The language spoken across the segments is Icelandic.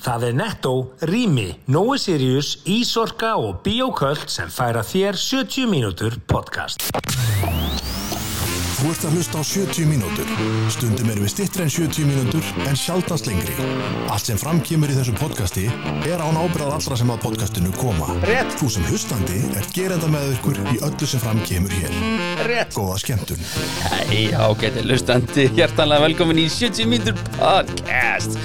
Það er Netto, Rými, Nói Sirius, Ísorka og Bíoköld sem færa þér 70 mínútur podcast. Þú ert að hlusta á 70 mínútur. Stundum erum við stittri en 70 mínútur en sjaldans lengri. Allt sem framkýmur í þessu podcasti er án ábyrðað allra sem að podcastinu koma. Rétt. Þú sem hlustandi er gerenda með ykkur í öllu sem framkýmur hér. Rétt. Góða skemmtun. Hei, ágæti hlustandi, hjertanlega velkomin í 70 mínútur podcast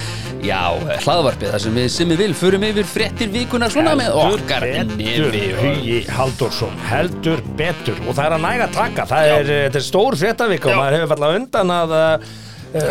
Já, hlaðvarpið þar sem við sem við vil förum yfir fréttir vikuna svona með okkar Heldur nefi betur, og- Hugi Halldórsson, heldur betur og það er að næga að taka, það er, eh, þetta er stór fréttavika og maður hefur fallað undan að uh,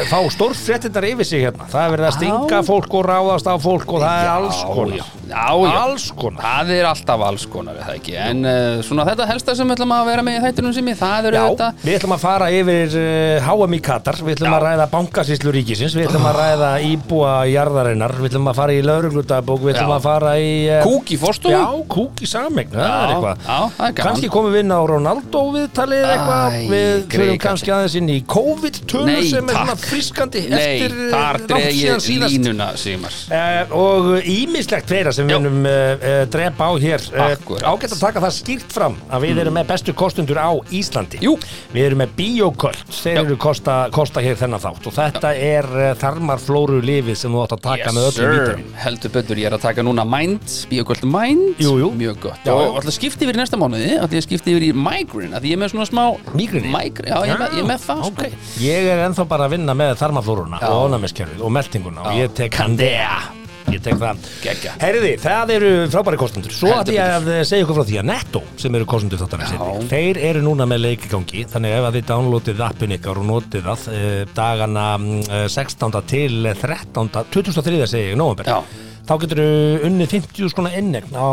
fá stór fréttinnar yfir sig hérna það er verið að stinga fólk og ráðast á fólk og það er alls konar Já, já. alls konar Það er alltaf alls konar, er það ekki En uh, svona þetta helsta sem við ætlum að vera með í þættunum sem ég, það Já, eru þetta við ætlum að fara yfir uh, HM í Katar, við ætlum Já. að ræða bankasýslu ríkisins, við ætlum að ræða íbúa jarðarinnar, við ætlum að fara í lauruglutabók, við ætlum Já. að fara í uh, Kúk í forstofu Já, kúk í sameign, það er Já, eitthvað já, það er gaman. Kannski komum við inn á Ronaldo viðtalið eitthvað Æ, Við fyrir greikandi. kannski aðeins inn í COVID-tölu Nei, sem er takk. svona friskandi Nei, eftir eh, þar langt dreg síðan ég síðast. línuna, Sigmar Eh, og ímislegt fleira sem við Já. munum uh, uh, drepa á hér uh, Akkúrat. ágætt að taka það skýrt fram að við erum með bestu kostundur á Íslandi Mm. Jú. við erum með bioköld þeir Já. eru kosta, kosta hér þennan þátt og þetta er uh, þarmarflóru lifið sem þú átt að taka með öllum vítamínum. heldur betur, ég er að taka núna Mind, bíoköld Mind, Jú, jú. mjög gott Já, já. og alltaf skipti yfir í næsta mánuði, alltaf ég skipti yfir í Migraine, að ég er með svona smá Mígreni? Migraine, já, ég er með, ég er með það, sko. ok. Ég er ennþá bara að vinna með þarmaflóruna Já. og ónæmiskerfið og meltinguna og Já. ég tek Candea Ég tek það. Geggjað. Herriði, það eru frábæri kostendur. Svo Heldur að ég að segja ykkur frá því að Netto, sem eru kostendur þáttan að Já. þeir eru núna með leikigangi, þannig ef að þið downloadið appin ykkar og notið það eh, dagana eh, 16. til 13. 2003. segi ég, nóvember, Já. þá getur þau unnið 50 skona innegn á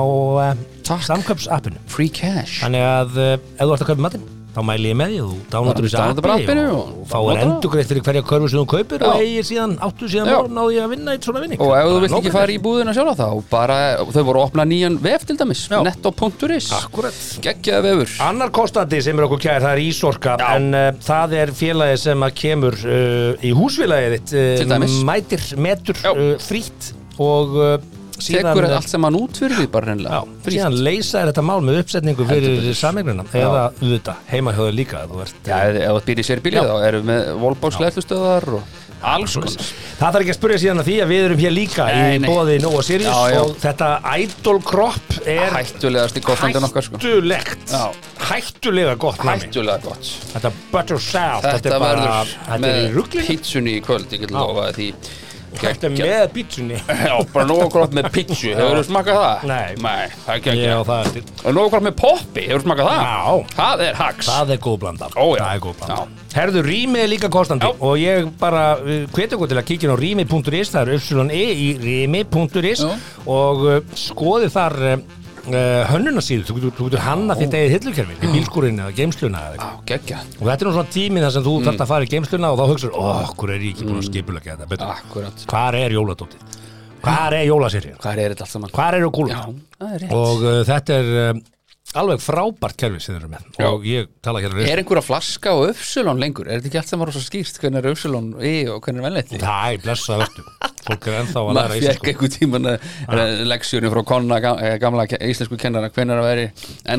eh, Takk. samköpsappinu. sko. Free cash Þannig að eh, ef þú ert að kaupa matinn þá mæli ég með því, þú dánáttur þessu Downloadar bara appinu og, og- og fáir notar það. endugreitt fyrir hverja körfu sem þú kaupir og Já. eigir síðan, áttu síðan Já. morgun á því að vinna eitt svona vinning og ef þú vilt ekki fara í búðina sjálf þá, bara, þau voru að opna nýjan vef til dæmis, Já. netto.is Akkurat Ah, geggjaði vefur Annar kostandi sem er okkur kær, það er Ísorka en uh, það er félagi sem að kemur uh, í húsfélagið þitt eh, Til dæmis. mætir, metur, Já. uh, frýtt og uh, síðan tekur allt sem hann út fyrir því bara reynilega Já, síðan leysa þér þetta mál með uppsetningu fyrir sameignuna eða auðvitað heimahjóðu líka ef þú ert eh, Já, ef ef þú býr í sérbílið þá erum við með volbáksleðlustöðar og alls konar Það þarf ekki að spurja síðan að því að við erum hér líka Nei, í nei. bóði Nóa Sirius Já, já. og þetta Idol Crop er Hættulegast í kostandun okkar sko hættulegt Já. hættulega gott nami Hættulega gott Þetta Butter South Þetta er bara, verður þetta er í með ruglinu pitsunni í kvöld, ég get lofaði því Þetta er Geggjað. með pítsunni Já, bara nóg okkur með pitsu, hefur þú smakað það? Nei. Nei, það er ekki Já, ekki það er til Og nóg okkur með poppi, hefur þú smakað það? Já. Það er hax Það er góð blanda Ó, já. Það er góð blanda Já. Herðu, rými er líka kostandi Já. og ég bara hveti okkur til að kíkja inn á rými.is það er uppsölun e í rými.is Já. og uh, skoði þar uh, hönnunarsýðu þú getur, þú getur hanna þitt eigið hillukerfi í bílskúrin eða geimsluna eða eitthvað Já, geggja og þetta er nú svona tíminn þar sem þú mm. þarft að fara í geimsluna og þá hugsaður, óh, hver er ég ekki búin að skipulega þetta betur Mm. Akkurat hvar er jóladótið, hvar er jólasýrjun Hvað er þetta allt saman? hvar eru kúlum Já, það er rétt og uh, þetta er uh, alveg frábært kerfi sem þeir eru með Já. og ég tala hérna Er einhverja flaska og öfsulón lengur? Er þetta ekki allt sem var rosa skýrt? Hvernig er öfsulón í og hvernig er velnætti? Æ, blessa verður Fólk er ennþá að sko. læra Maður fekk íslensku einhver tíman leksjónu eh, frá konna, ga- eh, gamla ke- íslensku kennara hvernig er að veri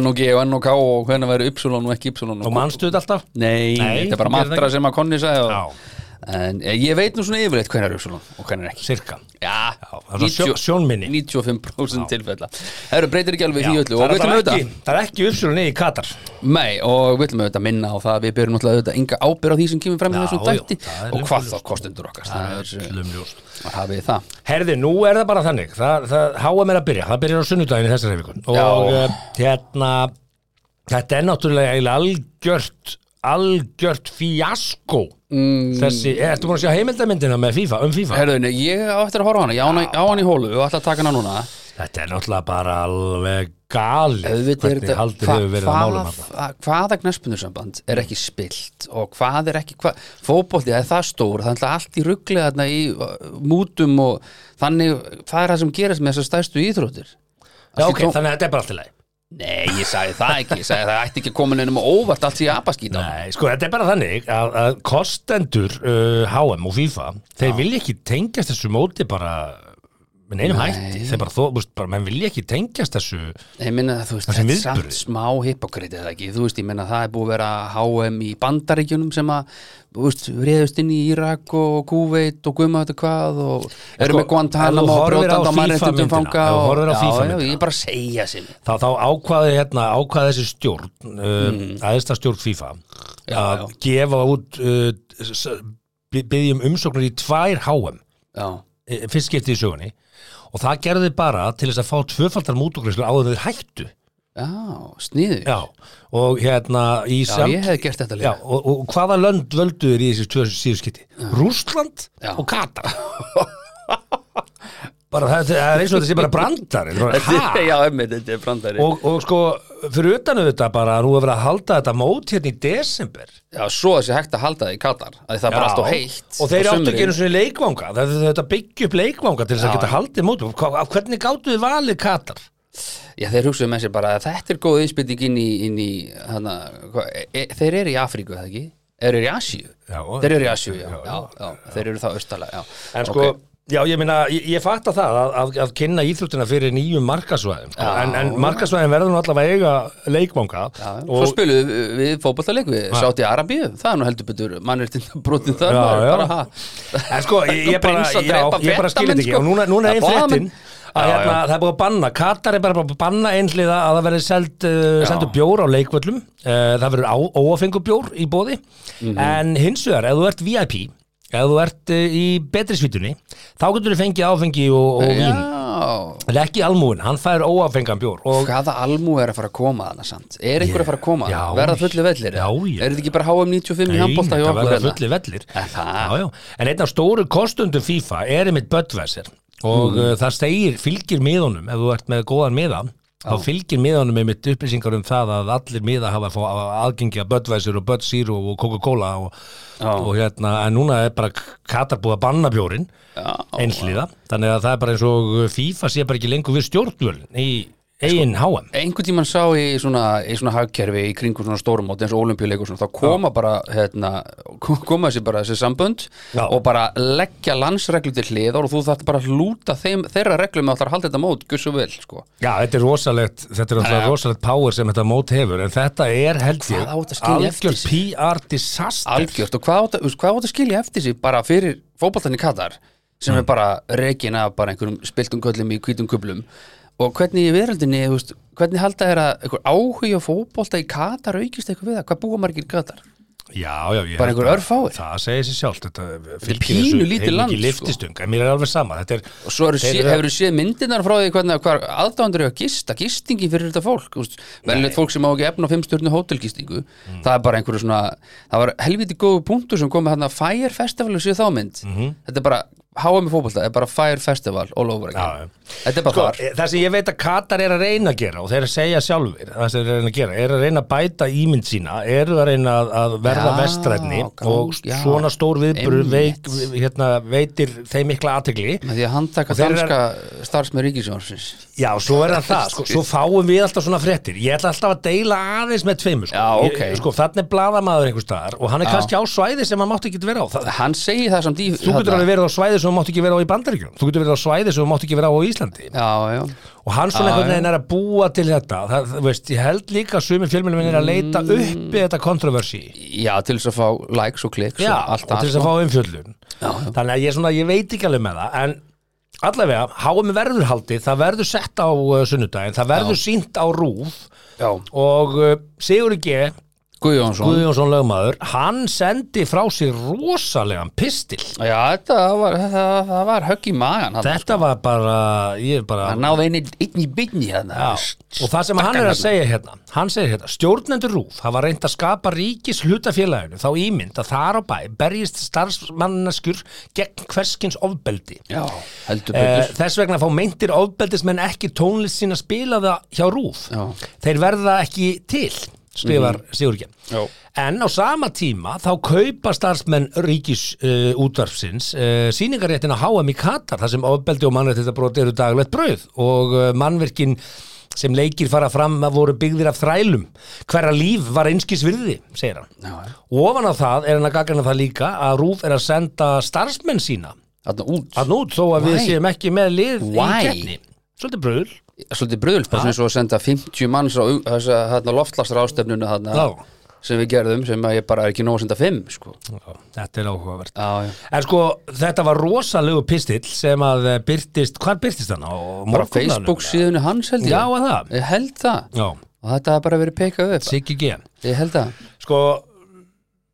NOG og NOK og hvernig að veri Upsilon og ekki Upsilon Og mannstu þetta alltaf? Nei, Nei, þetta þú gerir er bara það mantra ekki. sem að konni sagði Já, og, En eh, ég veit nú svona yfirleitt hvernig er Upsilon og hvernig er ekki cirka Já, það er svona sjón- sjónminni. 95% tilfella Það eru breytir ekki alveg Já, því öllu og það, við er ætlum alltaf auðvitað ekki, það er ekki uppsölunni í Katar Nei, og við ætlum auðvitað að minna á það að við byrjum náttúrulega auðvitað enga ábyrð á því sem kemur fram í Já, þessum já, dætti það er og hvað þá ljóst. kostendur okkar Það það er er, öllum ljóst eh, að hafið það Herði, nú er það bara þannig Það, það háa mér að byrja, það byrjar á sunnudaginn í þessari vikun Og Já. uh, hérna Þetta er náttúrulega eiginlega algjört algjört fíasko Mm. þessi, eh, ertu búin að sjá heimildamyndina með FIFA, um FIFA Herðunni, ég á eftir að horfa á hana, ég á hana, á hana í hólu og ætla að taka hana núna þetta er náttúrulega bara alveg galið Auðvitað er hvernig haldið hva- hefur verið að málum hvaða- þetta hva- Hvaða knaspundursamband er ekki spilt og hvað er ekki, hva, fótbolti það er það stór, það er alltaf allt í ruggli þarna í uh, mútum og þannig, það er það sem gerast með þessar stærstu íþróttir Já, Allt ok, í tóm- þannig að þetta er bara alltaf leið Nei, ég sagði það ekki, ég sagði það ætti ekki að koma nefnum óvart allt í abaskýta Nei, sko, þetta er bara þannig að, að kostendur uh, HM og FIFA, þeir vilja ekki tengjast þessu móti bara með neinum hætti, þeir bara þó, þú veist, bara menn vilja ekki tengjast þessu Ég minna að þú veist, Það sem þetta er samt viðburður. smá hippokrit eða ekki, þú veist, ég minna að það er búið að vera HM í bandaríkjunum sem að, þú veist, reyðust inn í Irak og Kúveit og Guðmáttu hvað og Sko, eru með Guantanamo og brjótandi á mannréttindum fanga og og, horfir á FIFA já, myndina. ég er bara að segja sem þá, þá ákvaði hérna, ákvaði þessi stjórn uh, aðeins stjórn FIFA Mm. Já, að já. gefa út uh, s- bi- biðja um umsóknir í tvær HM Já, eh, fyrst skipti í sögunni og það gerði þeir bara til þess að fá tvöfaldar mútugreyslu áður en þeir hættu já, sniðu Já, já, og hérna í samt- ég hefði gert þetta Já, líka og, og hvaða lönd völdu þér í þessi tvö síðu skipti? Rússland Já. og Katar bara það, það er eins og þessi bara brandar Þetta er- ha? Já, emmi, þetta er brandari og, og sko fyrir utan auðvitað bara að nú hefur verið að halda þetta mót hérna í desember Já, svo þessi hægt að halda það í Katar að það er bara Já. allt og heitt og þeir á áttu sumrin. ekki einu svona leikvanga það er þetta byggja upp leikvanga til þess Já. að geta haldið mót hvernig gáttu þið valið Katar? Já, þeir hugsaðu með sér bara að þetta er góð innspýting inn í, inn í hana, hva, e, þeir eru í Afríku, eða ekki? Þeir eru í Asíu? Já, þeir eru í Asíu, já, já, já, já, þeir eru þá austalega, já. En sko, Ok. já ég meina, ég, ég fatta það að, að, að kynna íþróttina fyrir nýjum markasvæðum sko. Já. en, en markasvæðin verður nú allavega að eiga leikvanga Já, svo og, spiluðu við- við fótballtaleik við Sáti Arabíu, það er nú heldur betur mannirtin brotin þar, Já, maður, já. bara ha en sko, ég, ég bara, Prins að já, drepa ég bara skilir þetta fréttamenn, ekki sko. og núna, núna Já, er einn blaðamenn. fréttin að Já, hérna, já. það er búið að banna Katar er bara búið að banna einhliða að það verður seld, uh, Já. seldu bjór á leikvöllum uh, það verður óafengu bjór í bóði Mhm. en hins vegar, ef þú ert VIP ef þú ert uh, í betri svítunni þá getur þú fengið áfengi og, og vín Já, en ekki almúin, hann fær óafengan bjór og hvaða almú er að fara að koma þarna samt? Er einhver að fara að koma? Já, Verða fullu vellir? já, já. Er þetta ekki bara HM 95 í handbólta hjá þetta okkur verða hérna? fullir vellir Er það? já, já. en einn af stóru kostundum FIFA er einmitt Böttvæsir og mm. það segir, fylgir miðunum ef þú ert með góðan miða þá fylgir miðunum einmitt upplýsingar um það að allir miða hafa að fá aðgengi að Böttvæsir og Bött Zero og Coca-Cola og, Já. og hérna, en núna er bara Katar búið að banna bjórin Já, einhliða, þannig að það er bara eins og FIFA sé bara ekki lengur við stjórnvölin í Sko, eigin háan einhvern tímann sá í svona, í svona hagkerfi í kringum svona stórumót eins og olimpíuleikur svona, þá koma bara hérna, ko- koma þessi bara þessi sambönd Já. og bara leggja landsreglu til hliðar og þú þarft bara að lúta þeim, þeirra reglum að það er að halda þetta mót, guss og vel sko. Já, þetta er rosalegt, þetta er alltaf rosalegt power sem þetta mót hefur, en þetta er held ég Hvað á þetta skilja eftir sig? PR disaster algjört og hvað átt að, þú veist, hvað átt að skilja eftir sig bara fyrir fótboltan í Katar sem er bara rekin af bara einhverjum spiltum köllum í hvítum kublum og hvernig í veröldinni, þú veist, hvernig halda er að einhver áhugi á fótbolta í Katar aukist eitthvað við það, hvað búa margir í Katar Já, já, ég Bara held einhver að- örfáir. Það segir sér sjálft, þetta fylgir pínu lítið land, Ekki sko. liftistung, en mér er alveg sama Þetta er, og svo eru Þeir sé, eru- hefur séð myndinar frá því hvernig hvar aðdándur eru að gista, gistingi fyrir þetta fólk þú veist, velnett fólk sem á ekki efna á fimmstjörnu hótelgistingu, Mm. það er bara einhverju svona það var helviti góðu punktur sem komið hérna Fire Festival og séð þá mynd Mhm. þetta er bara, HM í fótbolta er bara Fire Festival all over Já, já. again þetta er bara sko, þar, það sem ég veit að Katar er að reyna að gera og þeir segja sjálfur, það sem þeir er að reyna að gera er að reyna að bæta ímynd sína, eru að reyna að- að verða Já, vestrætni gá- og já. svona stór viðbur Einmitt. veik, hérna, veitir þeim mikla athygli með því að e- handtaka Og þeir eru- danska er... starfsmið ríkisjónsins Já, svo er það það, sko, svo fáum við alltaf svona fréttir Ég ætla alltaf að deila aðeins með tveimur sko. Já, ok. Ég- Sko, þannig er bladamaður einhver staðar og hann er Já. kannski á svæði sem hann mátti ekki vera á það, hann segir það samt í Þú getur þarna. alveg verið á svæði sem hann mátti ekki vera á í Bandaríkjum Þú getur verið á svæði sem hann mátti ekki vera á á Íslandi já, já, Og hann svona Já, einhvern já. veginn er að búa til þetta það, það, veist, Ég held líka að sumir fjölmjölum er að Mm. leita uppi þetta kontroversi já, til þess að fá likes og kliks Já, og og allt sko. til þess að fá umfjöllun Þannig að ég, svona, ég veit ekki alveg með það En allavega, háum verður haldið Það verður sett á uh, sunnudaginn Það verður sínt á rúf já. Og uh, Sigur G Guðjónsson Guðjónsson lögmaður Hann sendi frá sér rosalegan pistil Já, þetta var, það, það var högg í magan hann, Þetta var bara, ég er bara hann náði einn einn í byggni hérna Já, og það sem hann er að segja hérna hann segir hérna, stjórnendur RÚF hafa reynd að skapa ríkis hlutafélaginu þá ímynd að þar á bæ berjist starfsmannaskur gegn hverskins ofbeldi Já, heldur Eh, betur þess vegna fá meintir ofbeldismenn ekki tónlist sína spilaða hjá rúf Já. Mhm. þeir verða ekki til skrifar mm Já. en á sama tíma þá kaupa starfsmenn ríkis uh, útvarfsins uh, síningaréttin á HM í Katar þar sem ofbeldi og mannréttindabrót eru daglegt brauð og uh, mannverkin sem leikir fara fram að voru byggðir af þrælum hverra líf var einskis virði segir hann Já, já. ofan á það er hann að gagna það líka að rúf er að senda starfsmenn sína Þarna út Þannig út þó að við Why? séum ekki með lið Why? í keppni Svolítið bröður Svolítið bröðl, bara svona svo að senda 50 manns á au- þessa þarna, loftlastra ástefnuna þarna, Já. sem við gerðum, sem að ég bara er ekki nóg að senda 5 sko. Þetta er áhugavert Já, já. En sko, þetta var rosalegu pistill sem að eh, byrtist, hvar byrtist hann á Bara morgunanum? Facebook síðunni hans held ég Já, að það Ég held það Já, Og þetta hafa bara verið pekað upp Siggi G Ég held það Sko,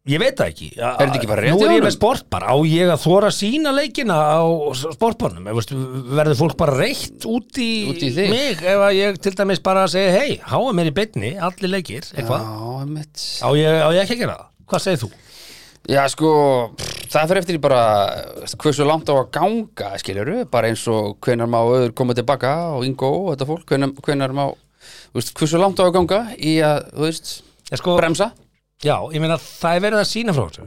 ég veit það ekki Er þetta ekki bara rétt Nú hjá er ég honum? með sportbar, á ég að þóra sína leikina á sportbarnum Ef, veist, Verður fólk bara reitt út í, Út í þig. mig Ef að ég til dæmis bara segi, hei, háa mér í beinni, allir leikir, eitthvað Já, mitt Á ég, á ég ekki að gera það? Hvað segir þú? Já, sko, pff, það fyrir eftir í bara veistu, hversu langt á að ganga, skiljur bara eins og hvenar má öður koma tilbaka og Ingo og þetta fólk, hvenar, hvenar má þú veist, hversu langt á að ganga í að, þú veist, Ég sko, bremsa Já, ég meina það er verið að sína frá þessu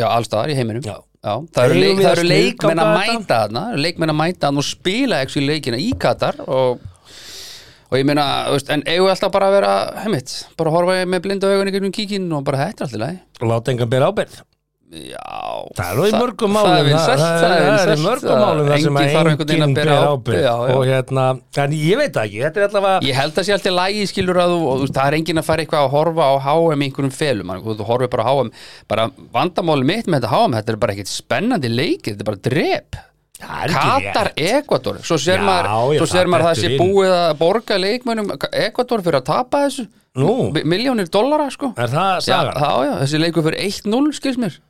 Já, allstaðar í heiminum Já. það Eigum eru, leik, við það að eru leikmenn að sniðganga mæta þarna það eru leikmenn að mæta þarna og spila ekki leikina í Katar og, og ég meina, þú veist, en eigum við alltaf bara að vera heimitt, bara horfa með blinda augun í gegnum kíkin og bara þetta er alltaf læg og láta engan bera ábyrð Já, Það er nú í mörgum málum það er vinsælt, það er það er í vinsælt, mörgum það- málum það sem enginn að þarf einhvern veginn enginn að bera ábyrgð, já, já. og hérna, en ég veit það ekki þetta er allavega, Ég held að sé alltaf lægi skilur að þú, og, þú veist, það er enginn að fara eitthvað að horfa á HM í einhverjum felum, man, þú horfir bara á HM bara vandamáli mitt með þetta HM þetta er bara ekkit spennandi leikir, þetta er bara drep það er ekki Katar, rétt. Ekvator svo sér Já, maður, já, svo það sér maður það dettur sé inn. búið að borga leikmönum Ekvator fyrir að tapa þessu Nú, Mi- miljónir dollara sko já, er það sagan? já, já, þessi leikur fyrir 1-0 skils mér,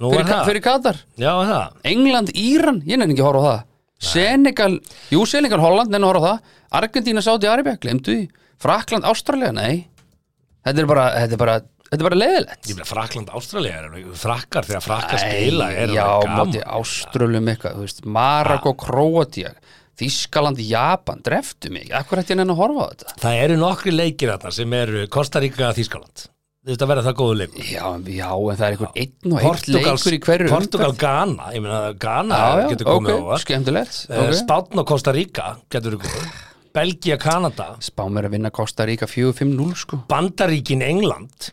Nú fyrir, er Ka- það, fyrir Katar já er það England, Íran, ég nefn ekki að horfa á það Senegal, jú Senegal, Holland nefn að horfa á það, Argentína, Saudi Arabia glemdu því, Frakland, Ástralja, nei þetta er bara, þetta er bara þetta er bara leiðilegt Ég meina Frakland Ástralja er frakkar þegar frakkar Æ, spila er Já, það móti gaman Ástralum eitthvað, þú veist, Marako, Króatía Þískaland, Japan, dreftu mig Akkur hætti ég nefn að horfa á þetta Það eru nokkri leikir þarna sem eru Costa Rica Þískaland Þetta verða það góðu leikur Já, já, en það er einhver einn og einn Portugals- leikur í hverju Portugal Ghana, ég meina Ghana Já, já, getur ok, komið á óvart Eh, skemmtilegt okay. okay. Spátn og Costa Rica getur við komið Belgia, Kanada Spá mér að vinna Costa Rica 4-5-0 sko Bandaríkin, England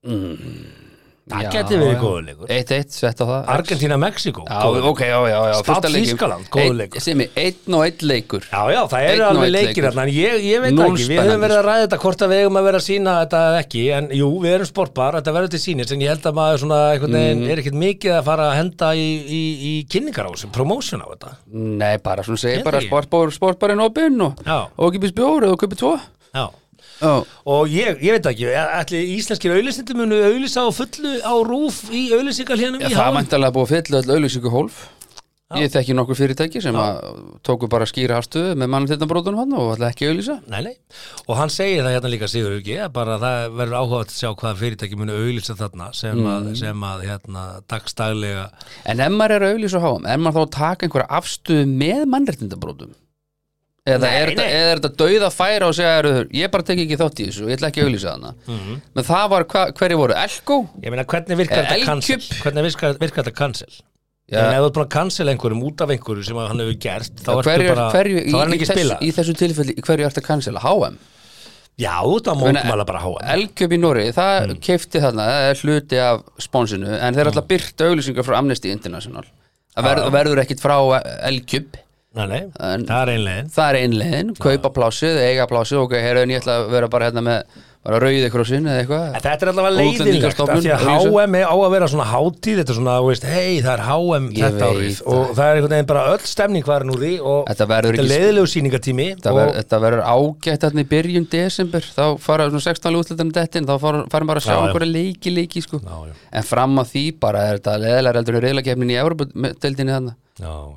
það Já, getur verið já. góður leikur 1-1, þetta það Argentina, Mexiko Já, ok, já, já, já Spánn, fyrsta leikur. Þýskaland, góður Einn- leikur. Simmi, einn og einn leikur já, já, það Einn eru og alveg einn leikir leikur. þarna, en ég, ég veit Núll ekki, við höfum spennandi, verið að ræða þetta hvort að við eigum að vera að sína þetta eða ekki en jú, við erum sportbar, þetta verður til sínis en ég held að maður svona, einhvern veginn, Mhm. er ekkert mikið að fara að henda í, í, í kynningar á þessu, promotion á þetta Nei, bara svona segi Ég bara ekki. sportbór, sportbærin opinn og, Já. og kipis bjóru og kipis tvo já Já, Og ég, ég veit ekki, ætli íslenskir auðlýsnindir munu auðlýsa á fullu á rúf í auðlýsingarlénum í það er mæntalega búið að fylla öll auðlýsingu hólf Ég þekki nokkur fyrirtæki sem að tóku bara skýra afstöðu með mannatittanbrótunum hann og ætla ekki að auðlýsa Nei, nei. Og hann segir það hérna líka Sigur Hugi, að bara það verður áhugað að sjá hvaða fyrirtæki muni auðlýsa þarna sem að, Mhm. sem að hérna, dagstaglega En ef maður er að auðlýsa á háum, er maður þá að taka einhverja afstöðu með mannréttindabrótum? Eða, Nei, er, þetta, nei. eða er þetta dauða færa og segja, "Heyrðu, ég bara tek ekki þátt í þessu og ég ætla ekki að auðlýsa hana menn það var, hva, hverju voru, Elko? Ég meina, hvernig virkar Eh, þetta cancel? Elkjöp. Hvernig virkar, virkar þetta cancel? Já. Ég meina, ef þú ert búin að cancel einhverjum út af einhverju sem að hann hefur gert, þá ertu hverju, bara, hverju, þá er hann í, í, ekki að þessu, spila. í þessu tilfelli, hverju ertu að cancela? HM? Já, þú ert að meina, mótmála bara háa. Elgjöp í Nóri, það mm. Hmm. keifti þarna það er hluti af sponsinu en þeir er alltaf byrta auglýsingar frá Amnesty International það verð, Ah. verður ekkit frá Elgjöp Nei, nei, En- það er einlegin. það er einlegin, Ah. kaupa plásið, eiga plásið ok, herrðin ég ætla að vera bara hérna með bara rauði krossin eða eitthvað En þetta er allavega Og leiðinlegt af Útlendingastofnun, því að auglýsa. HM er á að vera svona hátíð þetta er svona, þú veist, hei, það er HM Ég þetta veit árið það. og það er einhvern veginn bara öll stemning varin úr því og Þetta verður er ekki- leiðilegu síningatími Þetta, og ver, þetta verður ágætt þarna í byrjun desember, þá fara svona 16. útlættan dettin, þá far- farum bara að Já, sjá já. einhverja leiki, leiki sko. Já, já. en fram að því bara er þetta leðilega heldur en reyðlakefnin í Európa-deldinni þannig Já.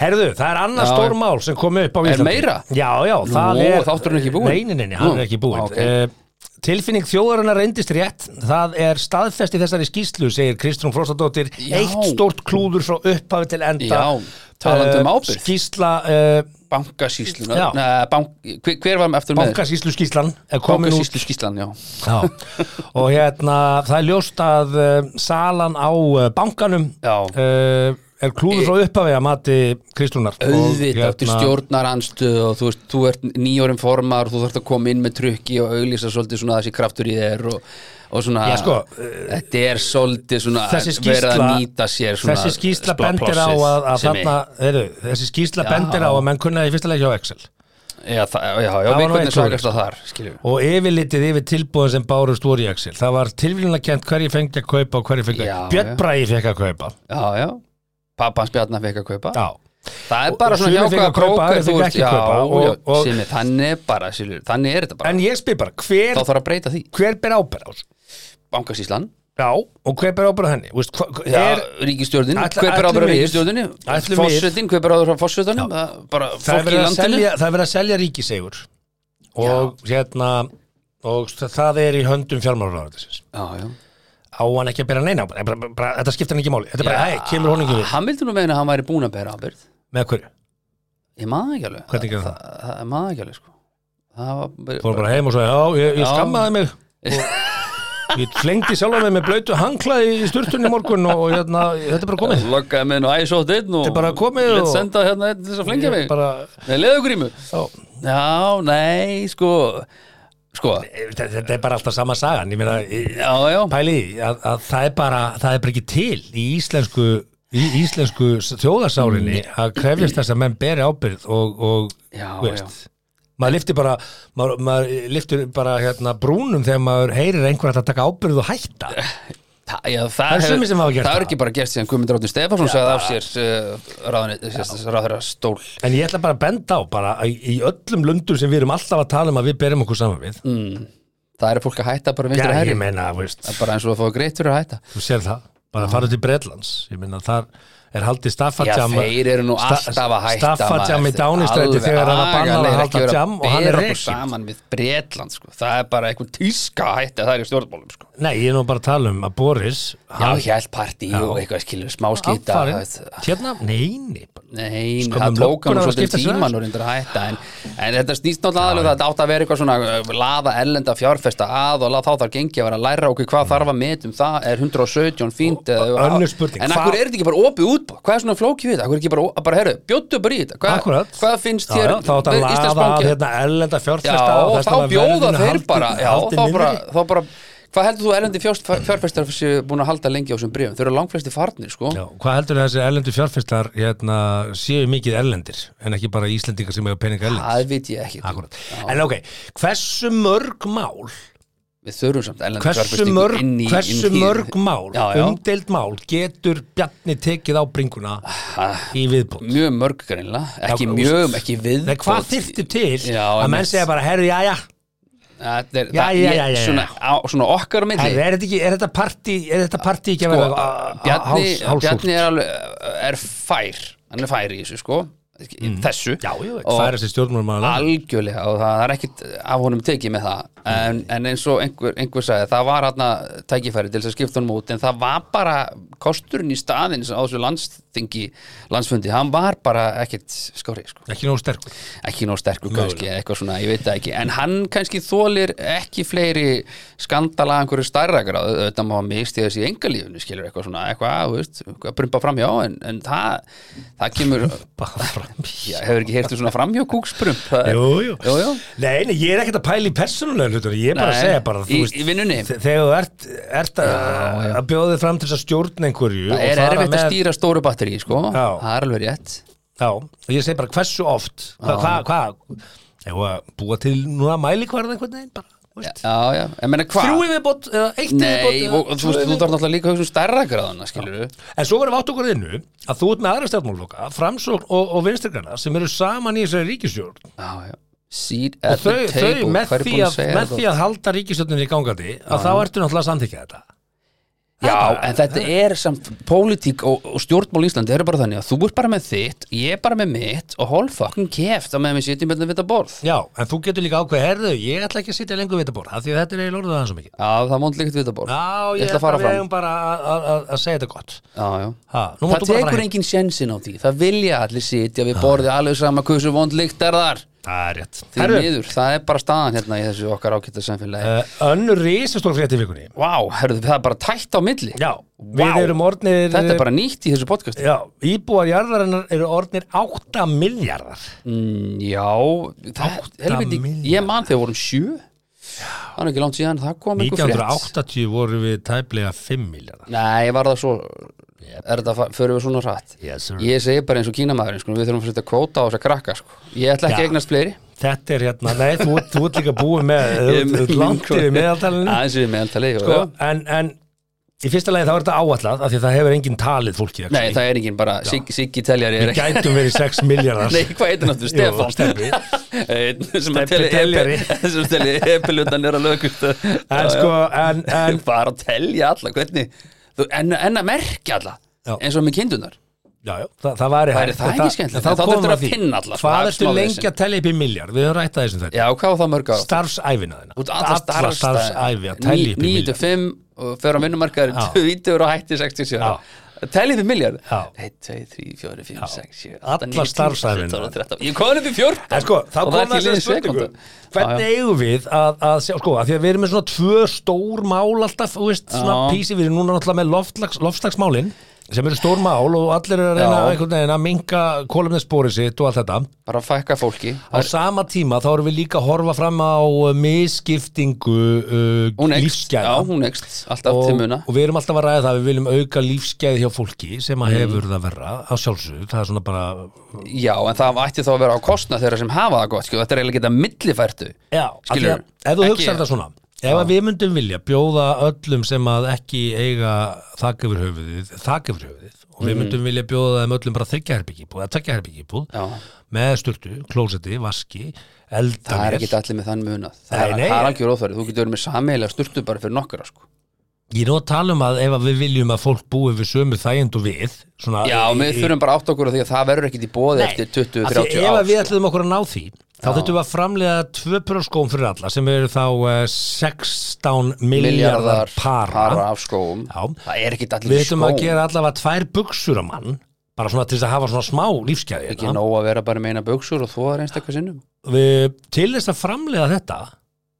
Herðu, það er annað Já. stór mál sem kom upp á Er Íslandi meira? Já, já, það Nú, er þátturinn er ekki búinn. Nei, nei, nei, nei, hann Nú, er ekki búinn ok. Eh, Tilfinning þjóðarinnar reyndist rétt Það er staðfest í þessari skýslu segir Kristrún Frostadóttir Já. Eitt stórt klúður frá upphafi til enda Já, talandi um Eh, ábyrgð. Skýsla uh, bankasýsluna Já. Nei, bank, hver, hver var eftir með þér? Bankasýslu skýslan er komin út bankasýslu skýslan, já Já. eh, og hérna það er ljóst að uh, salan á uh, eh, bankanum Já. uh, er klúður frá upphafi að mati hérna, Kristunar auðvitað til stjórnaranstöð og þú veist, þú ert nýjórum formar og þú þarft að koma inn með trukki og auglýsa svolítið svona þessi kraftur í þér og, og svona, Já, sko, þetta er svolítið svona þessi verið skýrsla, að nýta sér svona þessi skýrsla spla- bendir á plossið að, að sem þarna, heru, þessi skýrsla Já. bendir á að menn kunnaði í fyrsta leik hjá Excel í- já, það- já, já, Það já, var nú við eitt hvernig svakast að þar skiljum og yfirlitið yfir tilbúðin sem bárust úr í Excel það var tilvílunarkent hverju fengi að kaupa og hverju fengi að Já, Björn já. Bræði fekk að kaupa já, já, pappans Bjarnar fekk að kaupa já, það er Og- og bara svona sumir fengu hjákaða að kaupa, aðrir krókar þú fengu veist, ekki já, að kaupa og- já, og- sem er- þannig er bara, skilur, þannig er þetta bara en ég spyr bara hver, þá þarf að breyta því, hver ber ábyrð á þessu? bankasíslan já, og hver ber ábyrð á henni Þú veist, hva, hva, Já, er, ríkistjórnin, Ætla- hver ber ætlum ábyrgð á við- ríkistjórninni ætlum við- Fossetin, hver ber ábyrgð á fossetanum Það- bara það, er fólk í verið að landinu selja, það er verið að selja ríkisegur og hérna og það er í höndum fjármálaráðisins Já, já á hann ekki að bera neina ábyrgð, bara, bara, bara, þetta skiptir hann ekki máli þetta er bara, Já, hei, kemur honum ekki við Hann vildi nú meina að hann væri búin að bera ábyrgð með hverju, Ég maður ekki alveg Hvernig gerði það? Það- Það er maður ekki alveg, sko Það var fór bara heim og svo já, ég, ég Já. skammaði mig og ég flengdi sjálf mig með blöytu hanglaði í sturtunni í morgun og hérna, þetta er bara komið Lokkaði með nú æsótt einn og Þetta er bara komið Lét og- senda hérna einn til þess að flengja mig Ég bara, Nei, leðu grímu já, Já, nei, sko Sko, þetta, þetta er bara alltaf sama sagan ég meina, ég- já, já pæli í því að, að það er bara það er bara ekki til í íslensku í íslensku þjóðarsálinni Mm. að krefjast þess að menn beri ábyrgð og, og Já, þú maður liftir bara maður, maður liftir bara hérna brúnum þegar maður heyrir einhver að taka ábyrgð og hætta Þa, já, það, er hefur- sumir sem hafa gert það er það. ekki bara gert síðan Guðmund Ráttun Stefánsson sagði af sér uh, ráðherra stól en ég ætla bara að benda á bara að í í öllum lundum sem við erum alltaf að tala um að við berum okkur saman við það Mm. er fólk að hætta bara já, vinstri hæri ég meina, veist, það er bara eins og að fá greitt fyrir að hætta þú sér það bara farið til Bretlands, ég meina þar er haldið já, staffatjam þeir eru nú sta- alltaf að hætta Staffajam í maður. Dánistræti Alveg þegar hann var bannað að agalega halda ekki vera jam og hann bera er okkur rekinn. saman við Bretland sko. það er bara einhver tíska að hætta það er í stjórnmálum sko. nei, ég er nú bara að tala um að Boris já, hann- hjælt partí og eitthvað skilur smáskýta Hann það- farinn. hérna, neini Nei, Skömmu það tók hann löggunnar að svolítið skipta sér tíman og reyndir að hætta en, en þetta snýst náttúrulega aðalega það átt að vera eitthvað svona uh, laða ellenda fjárfesta að og la- þá þarf gengi að vera að læra okkur hvað þarf að metum það er 117 fínt eða- önnur spurning, En hvað- akkur er þetta ekki bara opið útbóð? Hvað er svona flókið við þetta? Akkur er ekki bara, ó- bara herru, bjóttu bara í þetta Hvað, Akkúrat. hvað finnst Já, þér já, þá átt að laða að Íslandsbanki? hérna erlenda Já, fjárfesta og þess þá vegna var bjóða verðinu þeir haldið- bara Já, haldið þá niðri. bara, þá bara Hvað heldur þú erlendi fjárfestar séu búin að halda lengi á þessum brífum? Þeir eru langflesti farnir, sko Já, hvað heldur þessi erlendu fjárfestar hérna, séu mikið erlendir en ekki bara Íslendingar sem hefur peninga erlend Það veit ég ekki Akkurat. En ok, hversu mörg mál við þurfum samt ellenda hversu fjárfestingu mörg, inn í, hversu inn í, mörg mál Um Já, já. umdeild mál getur Bjarni tekið á bringuna í viðbútt Ah, mjög mörg greinlega, ekki Já, mjög, ekki við Nei, hvað þyrfti til Já, að menn einmitt. segja bara, herru, já, já þetta er, Já, það- já, ég- já, já, já. Svona, á, svona okkar á milli herru, er þetta ekki, er þetta partí er þetta partí ekki að sko, vera a- a- Bjarni, háls- hálsúrt? Bjarni er alveg uh, er fær, hann er fær í þessu sko í þessu Mm. Já, já, Og- hvað er þessi stjórnmálum að algjörlega og það er ekkit af honum tekið með það en, en eins og einhver, einhver sagði það var hérna tækifæri til þess að skipta honum út en það var bara kosturinn í staðin á þessu landstingi landsfundi, hann var bara ekkit skári sko Ekki nóg sterkur ekki nóg sterkur kannski, eitthvað svona, ég veit það ekki en hann kannski þólir ekki fleiri skandala að einhverju stærra gráð auðvitað má misti þessi í engalífinu skilur eitthvað svona, eitthvað, þú veist, eitthvað að brumba framhjá en, en það, það kemur Bara fram í já, hefur ekki heyrtu svona framhjá kúksbrump það er- Jú, jú. jú, jú. Nei, nei, ég er ekkert að pæla í persónulega hlutur Ég er bara að Nei, segja bara, þú í- veist í vinnunni. þe- Þegar þú ert, ert að, Já, já. að bjóða þig fram til þess að stjórna einhverju það og er fara erfitt að með- stýra stóru batteri sko, Já. það er alveg rétt Já, og ég segi bara hversu oft Hvað, hvað, hvað Ef að búa til núna mælikvarð einhvern veginn bara, þú veist. já, já, en meina hvað Þrjú yfirbót eða eitt Nei, og, yfirbót og, þú veist, þú þarf náttúrulega líka að hugsa um stærra gráðana, skilur En svo verðum við átt okkur innu að þú ert með aðra stjórnmálfloka Framsókn og, og vinstrigranna sem eru saman í þessari ríkisjórn Já, já Seat og at the þau, þau table, með, hvað er því búin að, segja með þetta? því að halda ríkisjórninni í gangandi að þá ertu náttúrulega að samþykja þetta Ah. Já, en þetta er samt pólitík og, og stjórnmál í Íslandi eru bara þannig að þú ert bara með þitt, ég er bara með mitt og hold fucking keft á meðan við sitjum með þetta borð. Já, en þú getur líka ákveð, herðu, ég ætla ekki að sitja lengur við þetta borð, af því að þetta er eiginlega orðið aðeins svo mikið. Já, það er móndlíkt við þetta borð. Já, ég, ætla að fara við fram. eigum bara að- að að- að segja þetta gott. Já, já. Ha, nú það máttu bara fara tekur heim. engin sjensin á því, það vilja allir sitja við borðið alveg sama hversu vond lykt er þar. það er rétt Því miður, það er bara staðan hérna í þessu okkar ágæta samfélagi uh, önnur risastór frétt í vikunni Vá, herðu, það er bara tætt á milli já, við erum orðnir eh, Þetta er bara nýtt í þessu podcasti já, íbúar jarðarinnar eru orðnir 8 miljardar mm, Já, það, Átta helviti, ég man þegar vorum sjö Það er ekki langt síðan, það kom einhver frétt 1980 voru við tæplega 5 miljardar Nei, var það svo Er þetta, fa- förum við svona hratt Yes, sir. Ég segi bara eins og kínamaðurinn, sko, við þurfum að setja kvóta á þess að krakka sko. Ég ætla Já. ekki að eignast fleiri þetta er hérna, nei, þú, ert- þú ert líka búið með þú ert- þú ert langt yfir meðaltalinu Aðeins yfir meðaltali sko, en, en í fyrsta lagi þá er þetta áallat af því að það hefur enginn talið fólki Nei, það er engin bara, Siggi, Siggi teljari er við ekki gætum verið 6 miljardar Nei, hvað heitir náttúrulega Stefán? Steffi. Einn sem að Stebbi telja teljari. epi- sem telja epilutan er að lögust en sko, en, en bara að telja alla, hvernig þú, en, en að merkja alla, Já. eins og með kindunar já, já, það, það væri Væri hægt, það en ekki skemmtilegt? en En þá komum þurftir við að því. finna alla, smá- hvað ertu smá lengi vesen. að telja upp í miljard við höfum rættað þessum þetta Já, hvað var það mörg ára? starfsæfina þína Út alla starfsæfi að telja upp í Níu til miljard fimm og fer á vinnumarkaður Já. 20 og hætti 67 ára. Teljið við miljard? Já. 1, 2, 3, 4, 5, 6, 7, 8, 9, 10, Alla starfsævina. 12, 13 Ég kom upp í 14 En sko, þá Og það er kom ekki þessari liðin spurningu sekúnda. Hvernig eigum við að, að sjá, sko, að því að við erum með svona tvö stór mál alltaf, þú veist, svona Já. písi við erum núna náttúrulega með loftlags, loftslagsmálin sem eru stór mál og allir eru að reyna Já. einhvern veginn að minka kólumnesspórið sitt og allt þetta Bara að fækka fólki á sama tíma þá erum við líka að horfa fram á uh, misskiptingu uh, Hún ekst, já, lífsgæða hún ekst Alltaf til og, muna og við erum alltaf að ræða það við viljum auka lífsgæði hjá fólki sem Mm. að hefur það verra á sjálfsögðu, það er svona bara Já, en það ætti þá að vera á kostna þeirra sem hafa það gott, skilur, þetta er eiginlega geta millifærtu Já, Skilurðu? skilur, ef þú Ekki- hugsar þetta svona ef að við myndum vilja bjóða öllum sem að ekki eiga þak yfir höfuðið þak yfir höfuðið og Mm. við myndum vilja bjóða þeim öllum bara þryggja herbyggibúð eða tvekja herbyggibúð Já, með sturtu, klósetti, vaski það er eldavél, ekki allir með þann muna Það, Nei, er- nei. það er algjör óþverið, þú getur verið með sameigilega sturtu bara fyrir nokkara sko. ég er nú að tala um að ef að við viljum að fólk búi við sömu þægind og við svona, Já, í- við í- þurfum bara átt okkur á því að það verður ekkit í bóði Nei, eftir af því 20-30 ef ár sko. að við ætlum okkur að ná því þá þurfum við að framlega tvö pörskóm fyrir alla sem eru þá eh, 16 miljardar para af skóum Já. Það er ekkit allir Við í ættum skóum að gera allavega tvær buksur á mann bara svona til þess að hafa svona smá lífsgæði Ekki hérna. nóg að vera bara með eina buksur og þó er einstakka sinnum við, Til þess að framlega þetta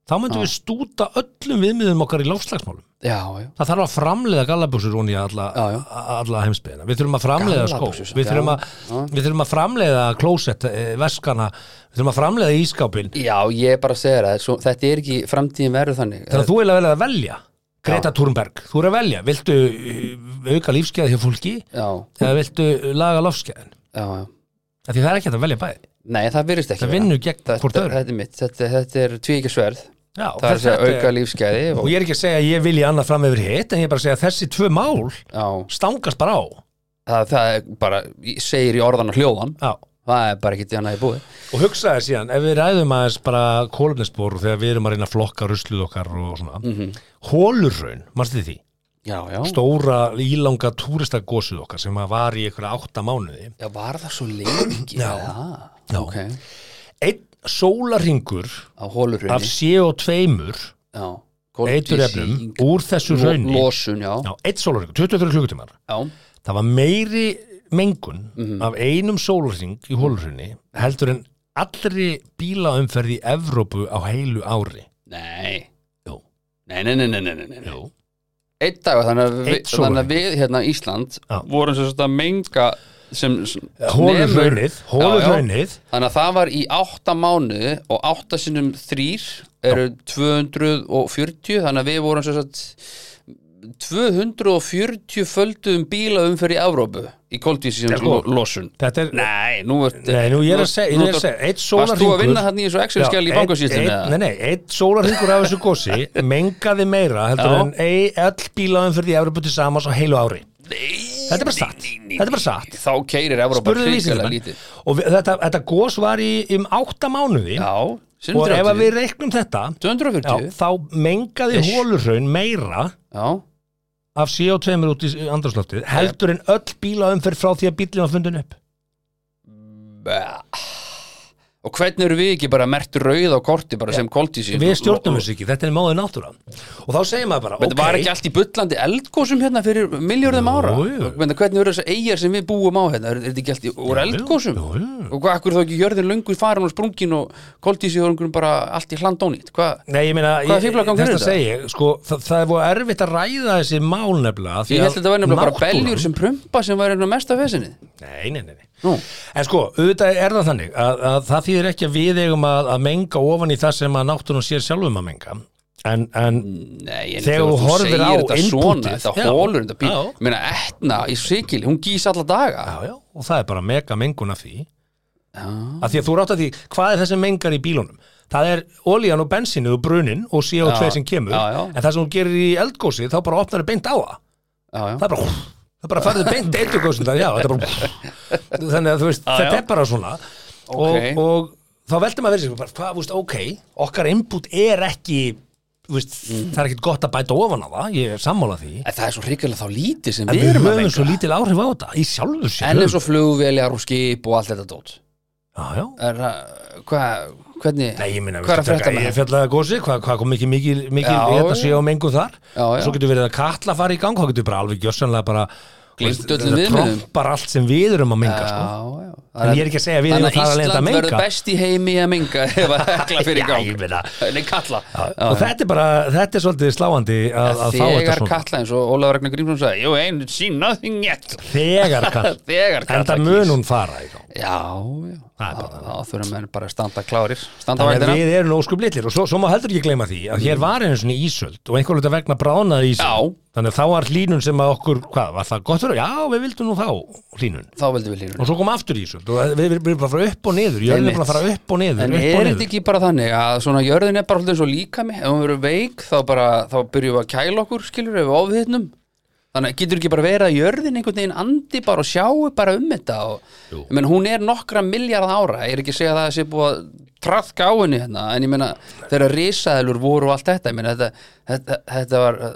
þá myndum við stúta öllum viðmiðum okkar í lofslagsmálum Já, já Það þarf að framlega gallabuxur onni í alla, Já, já. alla heimsbyðina. Við þurfum að framleiða skó. Gallabuxur, Við já, þurfum, að, já. við þurfum að framleiða klósett, eh, veskana, við þurfum að framleiða ískápin. Já, ég er bara að segja það, svo, þetta er ekki framtíðin verður þannig Þannig að þú er að velja að velja. Greta Thunberg, þú er að velja. Viltu eh, auka lífsgæði hjá fólki Já, eða viltu laga lofsgæðin? já, já Af Því það er ekki hægt að velja bæði. Nei, það virðist ekki Það vera. vinnur gegn þetta, hvort öðru. þetta er mitt, þetta, þetta er tvíkja sverð Já, það er að segja auka lífsgæði og, og ég er ekki að segja að ég vilja annað fram yfir hitt en ég er bara að segja að þessi tvö mál já, stangast bara á það, það er bara segir í orðan og hljóðan Já. það er bara ekki þannig að ég búið og hugsaði síðan, ef við ræðum aðeins bara kólumnesbor og þegar við erum að reyna að flokka rusluð okkar og svona mm -hmm. Hólurraun, mannstu því, já, Mhm. já. stóra ílanga túristagósuð okkar sem að var í einhverja átta mánuði já, var það svo lengi Já. Já. ok, einn sólarringur á af hólurraunni CO2 já, eiturefnum úr þessu Lo- raunni losun, já, Já, einn sólarringur, 23 klukkutímar já. það var meiri mengun Mhm. af einum sólarring í hólurhunni heldur en allri bílaumferð í Evrópu á heilu ári nei Jú. nei, nei, nei, nei, nei, nei, nei. Jú. einn dag, þannig að, við, Einn sólarhring. þannig að við hérna Ísland Já. vorum sem þetta menga sem, sem Eh, nemur- hólurhunnið hólurhunnið Þannig að það var í átta mánuði og átta sinnum þrýr eru 240 þannig að við vorum svo satt 240 földuðum bílaum fyrir Evrópu í koldvísi sem sko. sko. losun þetta er Nei, nú ert Nei, nú ég er að segja, ég er að segja, eitt sólarhringur Varst þú að vinna hann í þessu Excel-skjali Já, í einn- bankasýslinni? einn- Nei, nei, eitt sólarhringur af þessu gósi mengaði meira heldur Já. en ei, öll bílaumferð í Evrópu til samans á heilu ári Þetta er bara satt, þetta er bara satt Þá keirir Evrópa Spurðu hrikalega vísindamenn lítið og við, þetta, þetta gós var í um átta mánuði Já, sinnum og ef að 30 við reiknum þetta já, 240 þá mengaði Ish. hólurraun meira Já, af CO2 út í andrasloftið heldur en öll bílaumferð frá því að bílinn var fundin upp Bæ. og hvernig eru við ekki bara mertur rauð á korti bara sem koltísi Við stjórnum þessu ekki, þetta er móðið náttúran Og þá segir maður bara, Þetta var ekki allt í bullandi eldgósum hérna fyrir miljörðum ára Jú, jú. Menna, Hvernig eru þessar eigjar sem við búum á hérna Er er þetta ekki allt í úr eldgósum jú, jú. Og hvað akkur þá ekki jörðin löngu farin og sprungin og koldísihörungurinn bara allt í hlandónýtt Hvað? Nei, ég meina, ég- Hvaða fíflagangur er þetta þetta? segi ég, sko, það, það er voru erfitt að ræða þessi mál nefnilega því Ég held að að þetta var nefnilega bara náttúran- beljur sem prumpa sem var einhverjum mesta fesinni Nei, nei, nei, nei. Nú. En sko, auðvitað er það þannig að, að það þýðir ekki að við eigum að, að menga ofan í það sem að náttúrun sér sjálfum að menga En, en Mm. Nei, Þegar en þegar þú þú horfir segir á þetta svona inputið, Þetta já. hólur, þetta bíl Já. Ég meina, etna í sikil, hún gís alla daga já, já, og það er bara mega mengun af því já. að því að þú rátt að því hvað er þessi mengar í bílunum það er olían og bensinuð og brunin og CO2 Já, sem kemur já, já. en það sem þú gerir í eldgósi þá bara opnar það beint á það Já, já, það er bara það er bara farið beint eldgósin það, já, þetta er bara þannig að þú veist, Já, þetta já. er bara svona Ókei. og, og þá veltum maður verið sér bara, hvað, þú veist, ok, okkar input er ekki þú veist, það er ekkit gott að bæta ofan á það ég er sammála því En það er svo hrikalega þá lítið sem en við við erum að höfum svo menga lítil áhrif á þetta í sjálfu sér En eins og flugveljar og skip og allt þetta dót já, já. er það, hvað, hvernig Nei, ég minna, hvað er að frétta með ég það? fjallaði gósi, hvað, hvað kom mikil, mikil, mikil Já, hérna já. sé á mengu þar Já, já. svo getur verið að katla fara í gang þá getur bara alveg gjössanlega bara Gleymt veist, öllum þetta viðmiðum. trompar allt sem við erum að menga sko. Já, já. En ég er ekki að segja að við erum Þannig þar að leiðandi að Ísland menga. verður best í heimi í að menga ef að hekla fyrir í Já, ég gang meina. Nei, kalla og þetta er bara, þetta er svolítið sláandi að, að fá þetta Þegar svona kalla eins og Ólafur Ragnar Grímsson sagði You ain't seen nothing yet þegar kall Þegar kalla en það kýs. mun hún fara í gang Já, já Það er bara Þá þurfum menn bara að standa klárir Standa Þannig vaktina að við erum óskum litlir og svo, svo má heldur ekki gleyma því að hér var einu svona ísöld og einhver hluta vegna bránaði ísöld Já. þannig að þá var hlínun sem að okkur, hvað, var það gott fyrir? Já, við vildum nú þá hlínun Þá vildum við línur og svo kom aftur ísöld og við við- við erum bara að fara upp og niður jörðin er bara að fara upp og niður, En upp og er þetta niður. ekki bara þannig að svona jörðin er bara alltaf eins og líkami ef hún verður veik þá bara þá byrjum við að kæla okkur skilur ef við ofhittnum þannig að getur ekki bara verið að jörðin einhvern veginn andi bara og sjáu bara um þetta og, ég menn hún er nokkra miljard ára ég er ekki að segja að það sé búið að trafka á henni hérna en ég meina þegar risaðilur voru og allt þetta ég meina þetta, þetta, þetta var uh,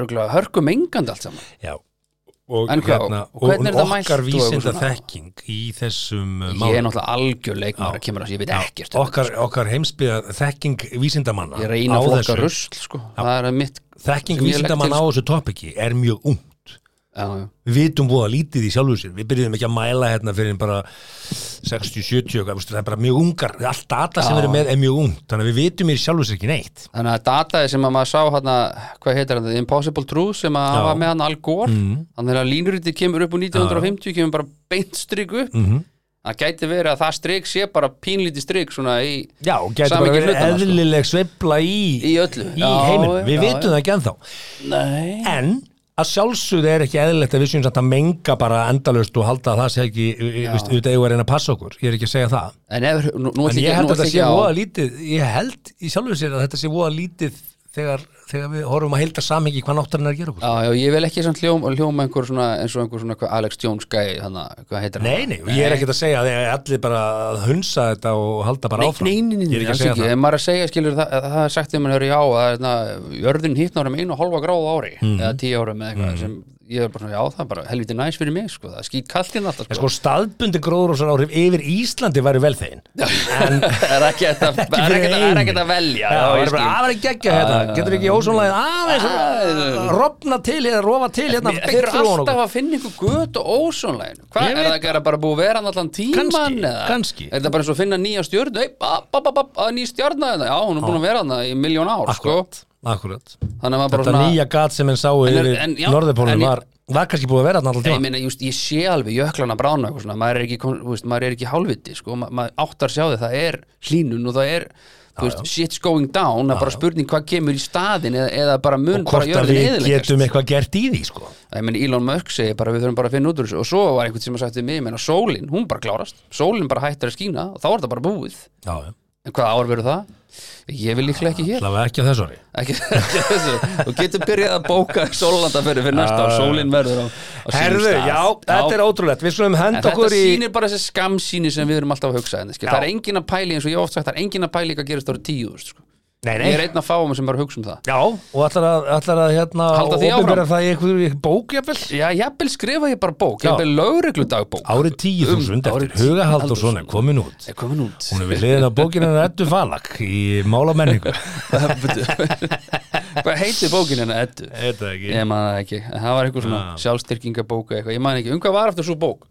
örgulega hörgum engandi allt saman Já. og, En hvað, hérna, og hvernig er og okkar þetta mælt og eitthvað vísinda svona? þekking í þessum uh, ég er málum náttúrulega algjör leikmar að kemur að ég veit ekkert um okkar, okkar heimsbyða þekking vísindamanna þetta. ég á reyna að flokka þessu- rusl sko. það er mitt þekking sem ég legg vísindamanna á til, þessu topiki er mjög ungt sko. Já, já. við vitum búið að lítið í sjálfu sér við byrjum ekki að mæla hérna fyrir en bara 60-70 og eitthvað, veistu, það er bara mjög ungar allt data sem Já. við erum með er mjög ungt þannig að við vitum í sjálfu sér ekki neitt Þannig að dataði sem að maður sá hana, hvað heitir hann, The Impossible Truth sem að hafa með hann Al Gore Mhm. þannig að línurítið kemur upp úr 1950 kemur bara beint strik upp Mhm. það gæti verið að það strik sé bara pínlítið strik svona í Já, getur bara samhengi verið hlutanna, sko. eðlileg sveifla í, Í öllu. í Já, heiminum. Við já, vitum já. það ekki ennþá Nei En að sjálfsögðu er ekki eðlilegt að við séum samt að menga bara endalaust og halda að það sé ekki, viðst, auðvitað eigum að reyna að passa okkur Ég er ekki að segja það En ef, nú, En nú ætla ég ekki- held nú að ætla þetta ekki sé á voða lítið Ég held í sjálfu sér að þetta sé voða lítið þegar, þegar við horfum að heilda samhengi hvað náttúrulega er að gera okkur Já, já, ég vil ekki samt hljóm, hljóma einhver svona, eins og einhver svona hvað Alex Jones gæði, þannig að hvað heitir Nei, nei, og ég er ekkert að segja að ég er allir bara að hunsa þetta og halda bara Nei, áfram nei, nei, nei, Ég nei, er ekki að alls segja ekki, það ef maður er að segja skilur það, það er sagt þegar maður höfður já að na, jörðin hittnar um einu og hálfa gráð á ári Hmm. eða tíu árum eða eitthvað sem ég er bara svona já það er bara helviti næs fyrir mig sko, það er skýt kallinn alltaf En sko. sko staðbundin gróðurósar áhrif yfir Íslandi væri vel þegin En það er ekki þetta það er fyrir ekki- það einu. er ekki að velja Já, já, það er bara ég skil. Ah. aðra geggja hérna Getur ekki ósónlega aðeins að rofna til hérna, rofa til hérna Mér- beint Ah. þeir eru fyrir ofan alltaf okkur. að finna ykkur göt og ósónlegin hvað Ég er veit það ekki að bara búið að vera hann allan tíman Kannski, eða? kannski. er það bara eins og að finna nýja stjörnu Ei, ba- ba- ba- ba- að ný stjörna hérna. já hún er búin að vera hann í miljón ár sko. Akkúrat, akkúrat. þannig að maður bara Þetta svona nýja gat sem enn sáu En er- yfir en já, en norðurpólunum ég- var var kannski búið að vera þarna alltaf Ég, tíma meina, just, ég sé alveg jöklana brána og eitthvað svona, maður er ekki, kom- þú veist, maður er ekki hálfviti sko, ma maður áttar sjá því, það er hlínun og það er, þú veist, shit's going down það er bara spurning hvað kemur í staðin eða, eða bara mun bara Hvort að jörðin við eðilegast getum eitthvað gert í því sko. ég meina Elon Musk segir bara við þurfum bara að finna út úr þessu og svo var einhvern sem að sagt við mig, ég meina sólin, hún bara klárast sólin bara hættar að skína og þá er það bara búið Já, já. en hvað ár verður það? Ég vil líklega ekki hér allavega ekki að þessu ári ekki, ekki þessu, þú getur byrjað að bóka sólandaferði fyrir næsta ár, sólin verður á, á sínum Ah. Herðu, stað. já, þetta er ótrúlegt Við slumum En henda þetta okkur í sýnir bara þessi skamsýni sem við erum alltaf að hugsa en, skil, Já. það er engin að pæli eins og ég hef oft sagt það er engin að pæli hvað gerist árið tíu sko. Nei, nei. Ég er einn af fáum sem bara hugsa um það Já, og ætlar að, ætlar að hérna Halda því áfram? opinbera það í einhverju einhver bók, jafnvel? Já, jafnvel skrifa ég bara bók, jafnvel lögreglu dagbók Árið 10.000 Um, árið eftir Huga 10.000. Haldursson er komin út. Er komin út Hún er við hliðin á bókinu en Eddu Falak í Málamenningu. Hvað heitir bókin hennar Eddu? Þetta ekki. Ég man það ekki, það var einhver svona sjálfstyrkingabók eða eitthvað, ég man ekki, um hvað var aftur svo bók?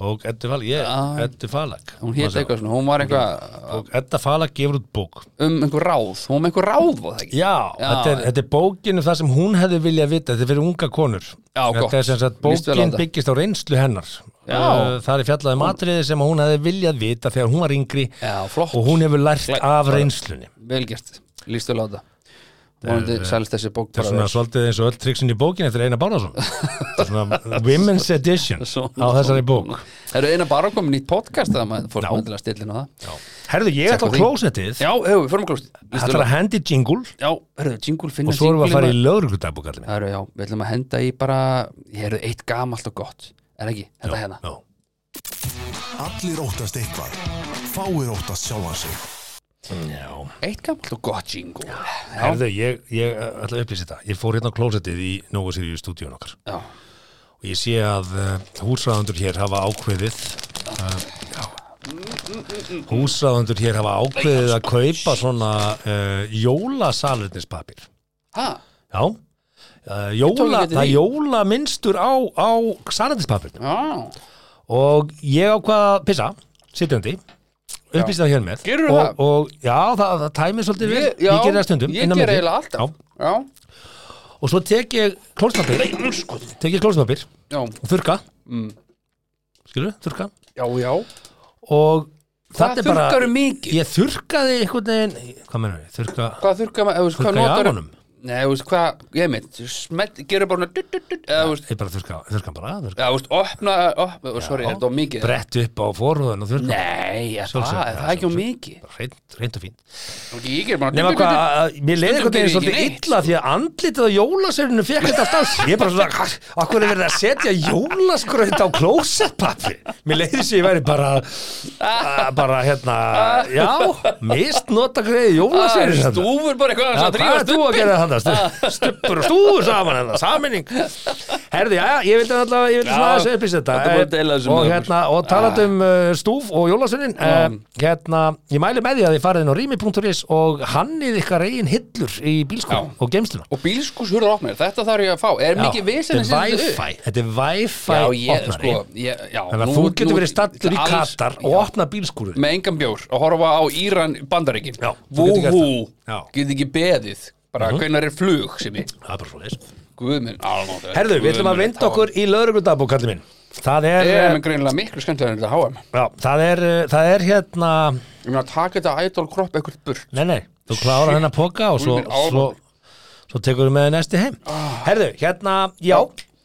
Bók Eddu Falak, ég, Já. Eddu Falak. Hún hétt eitthvað svona, hún var eitthvað Bók Edda Falak gefur út bók. um einhver ráð, hún var með einhver ráð var það ekki? Já, Já, þetta, er, já. þetta er bókinu það sem hún hefði viljað vita, þetta er fyrir unga konur Já, Þetta gott. er sem sagt, Líst vel á bókin þetta. byggist á reynslu hennar Já. Uh, Það er fjallaði matriði sem hún hefði viljað vita þegar hún var yngri Já, flott. og hún hefur lært Glæ- af reynslunni Vel gert, lístu að láta Vonandi sælst þessi bók Það er svona bara svolítið eins og öll triksin í bókinu eftir Einar Bárnason Þetta er svona women's edition á þessari bók Það eru eina bara komið nýtt podcast það maður fór maður til að stilla inn á það Herðu, ég ætla á því. klósettið Já, hefur, förum að klósti Það er að hendi jingle hérna. Já, herðu, jingle finna og svo erum við að fara jingle í lögreglutagbók allir Það eru, já, við ætlum að henda í bara Ég eru eitt gamalt og gott Er það ekki, þetta hérna minn Allir óttast eitthvað. Fáir óttast sjálfan sig. Já Eitt gamalt og gott jingle Já, Herðu, ég, ég eh, ætla að upplýsa þetta. Ég fór hérna á klósettið í Nóa Sirius stúdíun okkar já, og ég sé að uh, húsræðandur hér hafa ákveðið uh, húsræðandur hér hafa ákveðið að kaupa svona uh, jólasalurnispapir. ha, Já, uh, jóla, ekki það er eftir því. jólaminstur á, á salurnispapirnum já og ég ákvaða pissa, sitjandi upplýsa það hér með Gerðu og, og já, það, það tæmið svolítið vel, já, ég gerir það stundum Ég inn á ger milli. eiginlega alltaf Já. Já, og svo tek ég klóspapir tek ég klóspapir já, og þurka mm. skilur, þurka já, já. og Hvað þetta er bara þurrkarðu mikið? ég þurkaði einhvern veginn hvað mennum við, þurka Hvað þurrka maður, eða, þú veist, hvað Þurrka í notar afanum? Nei, þú veist, hvað, ég meint Smett, gerur bara svona dutt, dutt, dutt, eða, þú veist, ég bara þurka, þurka bara þurka. Já, þú veist, opna, opna, sorry, þetta var mikið brett upp á forhúðan og þurka Nei, er það, Sjálfsögðu, er já, það ekki á sjálfsögðu. mikið Bara hreint, hreint og fín Ok, Ég ger bara nema hvað, að- mér leiði Stundum einhvern veginn gerir ekki svolítið neitt. illa því að andlitið á jólaseirinu fekk þetta alltaf sér. ég er bara svona, akkur er verið að setja jólaskraut á klósettpappi mér leiði sér ég væri bara að, bara hérna já, mist nota greið Það er jólaseirinu Ah, stúfur bara eitthvað Já, hvað að er drífa þú að stubbin gera Ah. þetta? Stuppur og stúður saman þetta, saminning Herði, já, ég vildi allavega, ég vildi Já, svona aðeins upplýsa þetta þetta er bara að deila þessu Og með Ah. hérna, og talandi um uh, stúf og jólasunnin uh, Hérna, ég mæli með því að þið farið inn á rými.is og hannið ykkar eigin hillur í bílskóðum og geimsluna Og bílskús hurður opnir, þetta þarf ég að fá Er mikið vesen að þetta setja er þetta upp? Wi-Fi Þetta er Wi-Fi Já, ég, opnari sko ég, já, Þannig nú- að þú nú- getur verið stattur í alls- Katar og já, opna bílskúrið Með engan bjór og horfa á Íran bandaríkin Já, þú getur gert Vúhú, það. Já. Mhm. getur ekki beðið Bara hvenær er flug sem ég Það er bara svo leis Guðminn, alveg Herðu, við ætlum að vinda okkur í lögreglundabók, kallið minn Það er, Ég er eh, með greinilega miklu skemmtilega en þetta HM já, það er, eh, það er hérna Ég meina að taka þetta idol kropp eitthvað burt Nei, nei, þú klárar hennar poka og svo, Úlfur Ármann. svo, svo tekur við með þér næsti heim Ah. Herðu, hérna, já,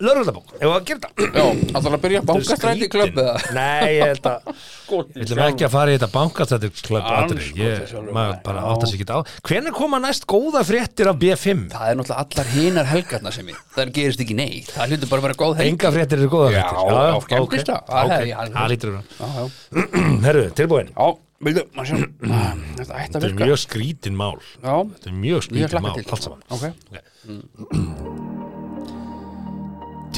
lögreglundabók Ef að gera þetta Já, alltaf að byrja bankastræti í klöpp eða Nei, ég held að Við ætlum ekki að fara í þetta bankastættir klöpp atrið Andskotinn Ég, sjálfur, maður maður. bara Já. átt að sér ekki á Hvenær koma næst góða fréttir af B5? Það er náttúrulega allar hinar helgarna sem ég Það gerist ekki neitt, það hlutur bara að vera góð helg Enga fréttir eru góða Já, fréttir já, ok, skemmtist það. Það hefði ég ok, alveg- það lítur úr Já, já, Herðu, tilbúin já, vildu, maður sjá Þetta ætti að Þetta er virka mjög skrítin mál Já, Þetta er mjög ég skrítið hlakka mál, til. allt saman. Ok.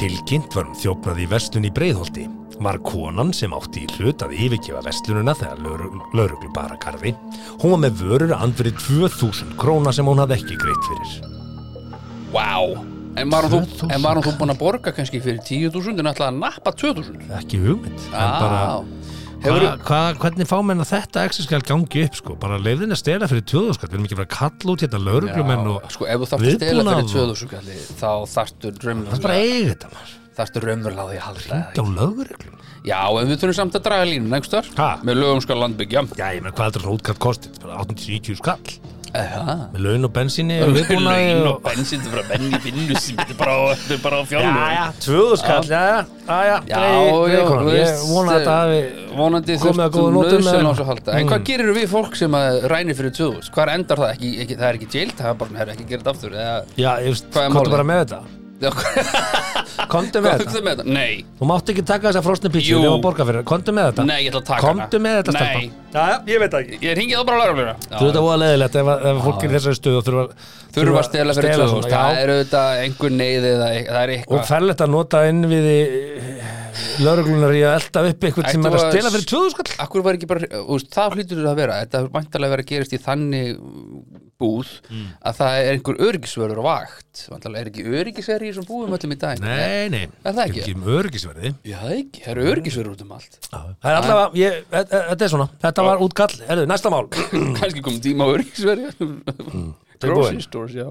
Tilkynnt var um þjófnað í verslun í Breiðholti. Var konan sem átti í hlut að yfirgefa verslununa þegar lauruglu bara karfi. Hún var með vörur að andfyrir 2000 króna sem hún hafði ekki greitt fyrir. Wow. En var hún þú, 2000. en var hún þú búin að borga kannski fyrir 10.000 en ætlaði að nappa 2.000? Ekki hugmynd. en Á. bara- Hefur Hva, hva, hvernig fá menn að þetta exi skal gangi upp sko, bara leiðin að stela fyrir 2000 skall, við erum ekki að fara að kalla út hérna lauruglumenn og Sko, ef þú þarft að stela viðbúnað fyrir og- 2.000 kalli, þá þarftu Það er bara að raunverulega eiga þetta maður, þarftu raunverulega á því að halda ekki á lauruglum Já, en við þurfum samt að draga línun, ekki stöður? Ha? Með lögum skal landbyggja Já, ég meina hvað heldur svona útkall kostið, bara 870 skall Aha. með laun og bensíni og viðbúnaði Laun og og... bensin, þetta er bara menn í vinnu sem þetta er bara á- þetta er bara á fjárlögum. tvöðu skall, já, já, já, Já, greið, já, konan. þú Ég veist, eh, vona að þetta hafi vonandi komið að góða nótum með þessu halda Mm. en hvað gerir við fólk sem að ræni fyrir 2000 hvað endar það ekki, ekki það er ekki jail það er bara, herra, ekki gera þetta aftur eða, Já, ég veist, Hvað er komdu málið? bara með þetta Komdu með þetta Komdu með þetta Nei, Þú mátt ekki taka þessa frosnu pítsu Jú. Jú að borga fyrir það. Komdu með þetta nei, ég ætla að taka hana Komdu með þetta stelpa Nei, Já, já, ég veit það ekki ég ringi þá bara að laura Þú veit að voða leðilegt ef, að- ef fólk er í þessari stuðu þurfa, Þurfa að stela fyrir 2000 svona, Það já. er auðvitað einhver neyði eða e- það er Og eitthvað ferlegt að nota inn við lauruglunar í að elda upp eitthvað sem er Ættu að að- stela fyrir 2000 skall Akkur var ekki bara, úst, það hlýtur það að vera Þetta er vantarlega að vera að gerist í þannig búð Mm. að það er einhver öryggisvörður á vakt Vantarlega er ekki öryggisverður í þessum búðum öllum í dag Nei, nei, Er það ekki? Ekki um öryggisverði Já, það er ekki, það eru öryggisverður út um allt Það er allavega, ég, e- e- þetta er svona Þetta var útkall, erðu, næsta mál Kannski komum tíma á öryggisverður Tilbúin. Grocery stores, já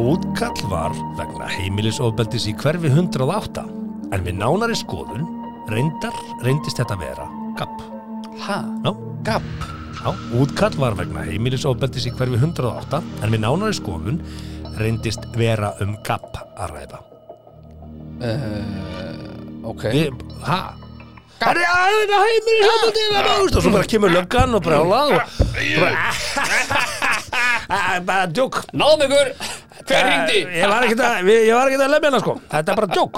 Útkall var vegna heimilisofbeldis í hverfi 108 en við nánari skoðun reyndar, reyndist þetta vera gapp. Ha? Já, Gabb? já, útkall var vegna heimilisofbeldis í hverfi 108 en við nánari skoðun reyndist vera um gapp að ræða. Uh, ok Við, ha? Er það þetta heimilisofbeldi er það mást og svo bara kemur löggan og brjála og bara, bara djók. Eh, Náðum ykkur, hver Ég var ekkert að, ég var ekkert að lemja hana sko. Þetta er bara djók.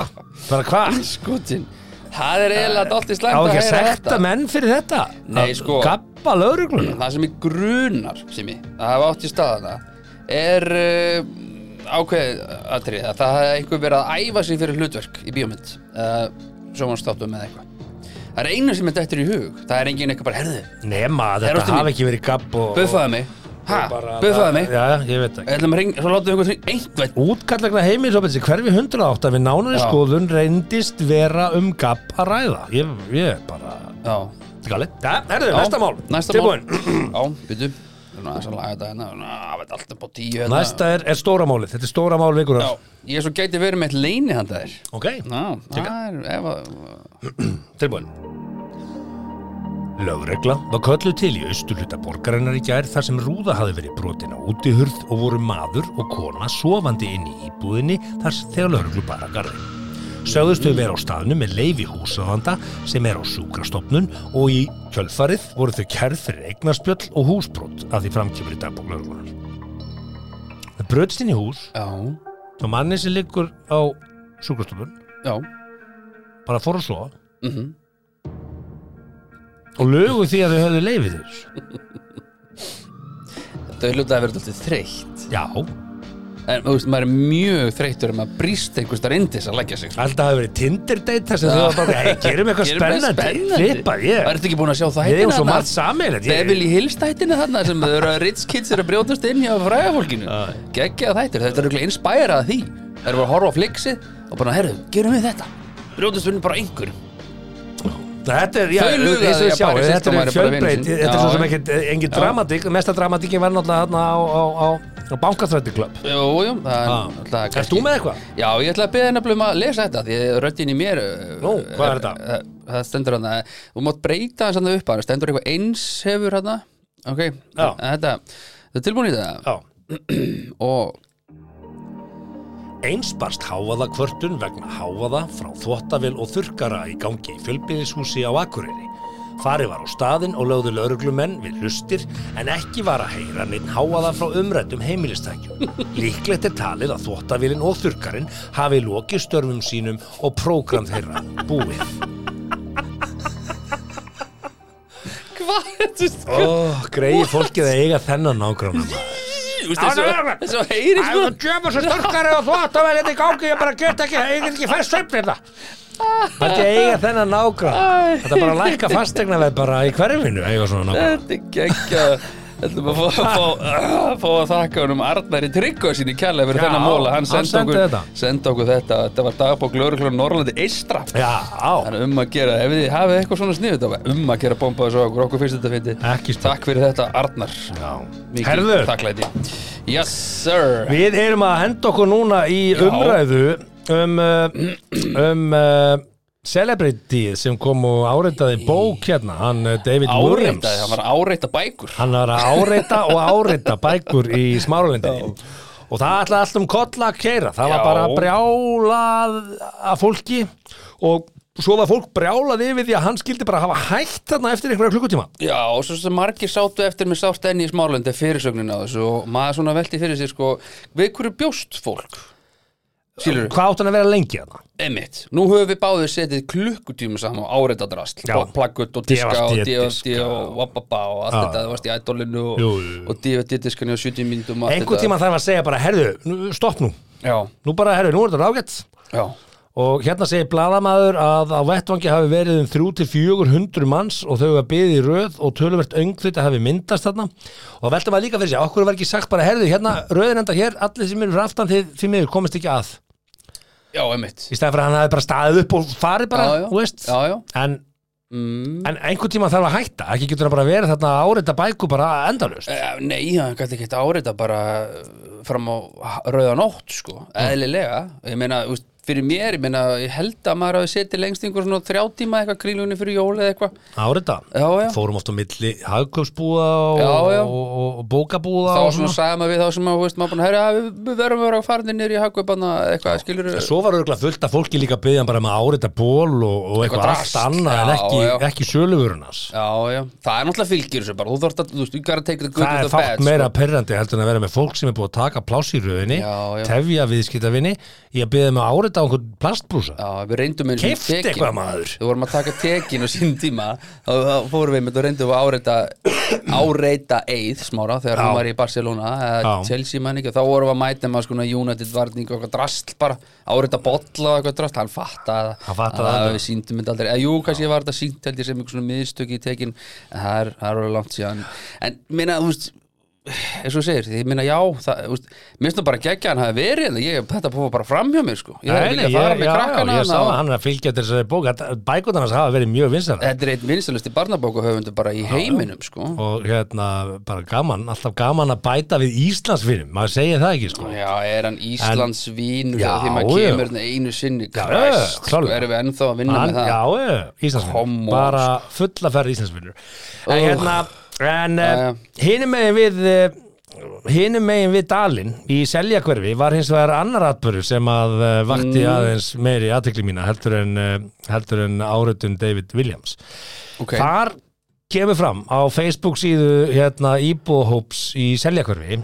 Bara hvað? Skotin Það er eiginlega dálítið á slæmt að ekki að heyra sekta þetta menn fyrir þetta Nei, Að sko. gabba lögregluna Það sem ég grunar sem ég að hafa átt í staðana er uh, ákveðið atrið að það hafa einhver verið að æfa sig fyrir hlutverk í bíómynd uh, sjónvanstátum eða eitthvað Það er einu sem er dættur í hug Það er engin eitthvað bara, herðu, nema að þetta Eróttu mín. hafi ekki verið gabb og, buffaðu mig Ha, buffaðu mig já, ég veit ekki Ætlum að ringa, svo látum við einhvern einhvern útkallegna heimilisofbelsi hverfi 108 við nánari Já. skoðun reyndist vera um gabb að ræða ég, ég bara Já, Þetta er galið. Já, herðu, næsta mál Næsta Tilbúin. mál Já, býtu Það er að laga þetta hérna Það veit alltaf bá tíu hérna næsta er, er stóra málið þetta er stóra mál vikunar Já, ég er svo gæti verið með eitt leini handa þér ok, Já, það er ef að tilbúin Lögregla var kölluð til í austurhluta borgarinnar í gær þar sem rúða hafði verið brotin á útihurð og voru maður og kona sofandi inn í íbúðinni þar sem þegar lögreglu bara garði. Sögðustu vera á staðnum með leifi húsafanda sem er á sjúkrastofnun og í kjölfarið voru þau kærð fyrir eignarspjöll og húsbrot að því framkjöfri dagbók lögreglunar. Það brötst inn í hús Já, og manni sem liggur á sjúkrastofnun já bara fór að sofa mm og lögu því að þau höfðu leifið þess. Þetta er hlutað að vera alltaf þreytt Já, En þú veist, maður er mjög þreyttur um að brýst einhver starf indis að leggja sig sko. Alltaf hafa verið Tinder date þar sem þú var bara, hei, gerum eitthvað Gerum við spennandi Flipa, ég Ertu ekki búin að sjá Við þættina erum svo margt sammeilegt Beverly Hills þættina þarna sem þau eru að Ritz Kids eru að brjótast inn hjá fræðafólkinu Já. Gekkja þættir, þetta er auðvitað inspærað af því Það eru bara að horfa á flixið og bara, herru, gerum við þetta Brjótast inn bara einhver Þetta er, já, Þau eins lugu og að ég ég sjá bara sést Þetta að er maður er bara vinur fjölbreyt, sinn. þetta er svo Já, sem já. ekkert eh, engin dramatík, mesta dramatíkin var náttúrulega þarna á, á, á, á bankastrætti klubb Jú, jú, það er náttúrulega Erst þú með eitthvað? Já, ég ætla að beða nefnilega um að lesa þetta því að röddinn í mér eh, Nú, hvað er þetta? Það, það stendur hann að þú mátt breyta hans hann upp að það stendur eitthvað eins hefur hann ok, Já. en þetta það er tilbúin í þetta Já og Eins barst háaða kvörtun vegna háaða frá þvottavél og þurkara í gangi í fjölbyrðishúsi á Akureyri. Farið var á staðinn og lögðu lauruglumenn við hlustir en ekki var að heyra neitt háaða frá umrættum heimilistækjum. Líklegt er talið að þvottavélin og þurkarinn hafi lokið störfum sínum og prógram þeirra búið. hvað er þetta? Ó, greiði fólkið að eiga þennan nágrann. þess að heyri sko djöfum sem þurkari og þvottavél þetta hérna í gangi, ég bara get ekki, ég get ekki hérna. fæst sveifnir það. Þetta er eiga þennan nágrann. Þetta er bara að lækka fastegnaverð bara í hverfinu eiga svona nákvæmlega. þetta er geggja ætlum að fá, fá, að fá að þakka honum Arnari Tryggva sinni kærlega fyrir Já, þennan móla hann hann, sendi sendi okkur, þetta. sendi okkur þetta þetta var dagbók lauruglunar Norrlandi Eistra Já, á, Þannig um að gera, ef þið hafið eitthvað svona sniðu þetta var um að gera bomba þessu á okkur, okkur finnst þetta fyndi Ekki spurning. Takk fyrir þetta, Arnar já. Mikið Herðu, Takklæti Yes, sir við erum að henda okkur núna í umræðu um, uh, um uh, celebrity sem kom og áreitaði bók hérna, hann uh, David Williams. Áreitaði, hann var að áreita bækur Hann var að áreita og áreita bækur í smáralendinni. Og það ætlaði allt um kolla að keira. Það var Já. bara brjálað að fólki og svo var fólk brjálað yfir því að hann skildi bara hafa hægt þarna eftir einhverja klukkutíma. Já, og svo sem margir sátu eftir með sátt enni í smálöndi fyrirsögnin á þessu og maður svona velti fyrir sér sko, við hverju bjóst fólk Skilur Hvað átt hann að vera lengi þarna? Einmitt, nú höfum við báðið setið klukkutíma saman á áreitadrasl Já. Plaggut og diska og DVD DVD diska og og- wababa og sko. allt Já. þetta, það varst í ædolinu og, Jú, jú, jú. og DVD-diskanu og 70 myndum og allt Einhvern tíma þarf að segja bara, herðu, nú- stopp nú Já, Nú bara, herðu, nú er þetta rágett já, Og hérna segir bladamaður að á vettvangi hafi verið um 3-400 manns og þau hafa byðið í röð og töluvert öngþvita hafi myndast þarna og veltum að líka fyrir sér, okkur var ekki sagt bara herðu, hérna, röðin enda hér, allir sem eru fyrir aftan þið því miður komist ekki að já, einmitt í stæðan fyrir að hann hafi bara staðið upp og farið bara, Já, já. þú veist Já, já, En, mm. en einhvern tíma þarf að hætta, ekki getur hann bara verið þarna að áreita bæku bara endalust Eh, Nei, hann gæti ekki þetta áreita bara eh, fram á ha- rauða nótt, sko, Mm. eðlilega Ég meina, þú veist, fyrir mér, ég meina, ég held að maður hafi setið lengst einhver svona þrjá tíma eitthvað krílunni fyrir jól eða eitthvað Áreita, Já, já. fórum oft á milli hagköpsbúða og, Já, já. og, og, og bókabúða þá og svona sagði maður við þá sem maður, veist, maður búin að herja við við verðum að vera að fara niður í hagkaupanna eitthvað, skilur En Svo var örgulega fullt af fólki líka að byggja hann bara með árita ból og, og eitthvað allt drasl, annað en já, ekki, já. ekki söluvörunars. já, já, það er náttúrulega fylgjur þessu bara, þú þarft að, þú veist, you gotta take the good Það er with the bad sko. fátt meira perrandi heldur en að vera með fólk sem er búið að taka pláss í röðinni, Já, já. tefja viðskiptavinni, ég að byggja með árita á einhvern plastbrúsa. Já, við reyndum einu sinni Keypti tekin. eitthvað, maður. Við vorum að taka tekin á sín tíma og þá fórum við með og reyndum að áreita áreita eið smára þegar hún var í Barcelona eða Já. Chelsea mann ekki og þá vorum við að mæta með skona United varning og eitthvað drast bara áreita bolla og eitthvað drast hann fattaði Hann fattaði að það. við síndum um þetta aldrei eða jú, kannski var þetta sínt held ég sem einhver svona miðstök í tekin en það er, það er alveg langt síðan en minna, þú veist eins og þú segir, ég minna já það, þú veist, minnst það bara geggja hann hafi verið hérna. ég, þetta fór bara fram hjá mér sko ég hefði Nei, viljað fara með já, krakkana ég sá þarna að og- hann er að fylgja til þessari bók, bækundarnas hafa verið mjög vinsar Þetta er einn vinsalusti barnabókahöfundu bara í heiminum sko. og hérna bara gaman, alltaf gaman að bæta við Íslandsvinum, maður segja það ekki sko. Já, er hann Íslands vínur Já, því maður já. kemur hérna einu sinni Já, Christ, já, sko, klárlega. erum við ennþá að vinna Hann, með það já, já, Íslandsvinnur Come on, bara fulla ferð Íslandsvinnur en Oh. hérna en uh, já. hinum megin við uh, hinum megin við Dalin í Seljakverfi var hins vegar annar atbörður sem að uh, vakti Mm. aðeins meiri aðtekli mína heldur en, uh, heldur en áritun David Williams Ok. þar kemur fram á Facebook síðu hérna íbúhóps í Seljakverfi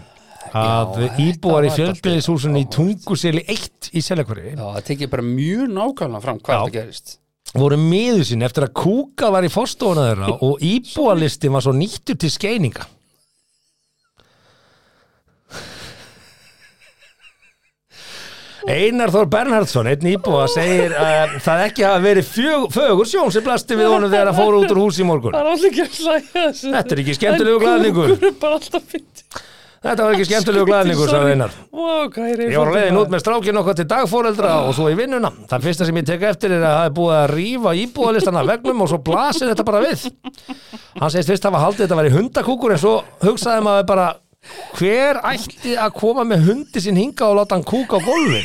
að Já, íbúar í þetta var fjölbyrðishúsunni í Tunguseli 1 í Seljakverfi Já, það tekið bara mjög nákvæmlega fram hvað Já. þetta gerist voru miður sín eftir að kúka var í fórstofuna þeirra og íbúalistin var svo nýttur til skeininga Einar Þór Bernhardsson, einn íbúa, segir að það ekki hafa verið fjög- fögur sjón sem blasti við honum þegar að fóru út úr húsi í morgun. Það er allir ekki að hlæja þessu Þetta er ekki skemmtilegu glæðningur. Kúkur er bara alltaf fyndi Þetta var ekki skemmtilegu glæðningur, sagði Einar. Vá, hvað er Ég var á leiðin út með strákin okkar til dagfóreldra og svo í vinnuna. Það fyrsta sem ég tek eftir er að það er búið að rífa íbúðalistana af vegnum og svo blasir þetta bara við. Hann segist fyrst hafa haldið þetta væri hundakúkur en svo hugsaði maður bara hver ætti að koma með hundi sín hingað og láta hann kúka á gólfi?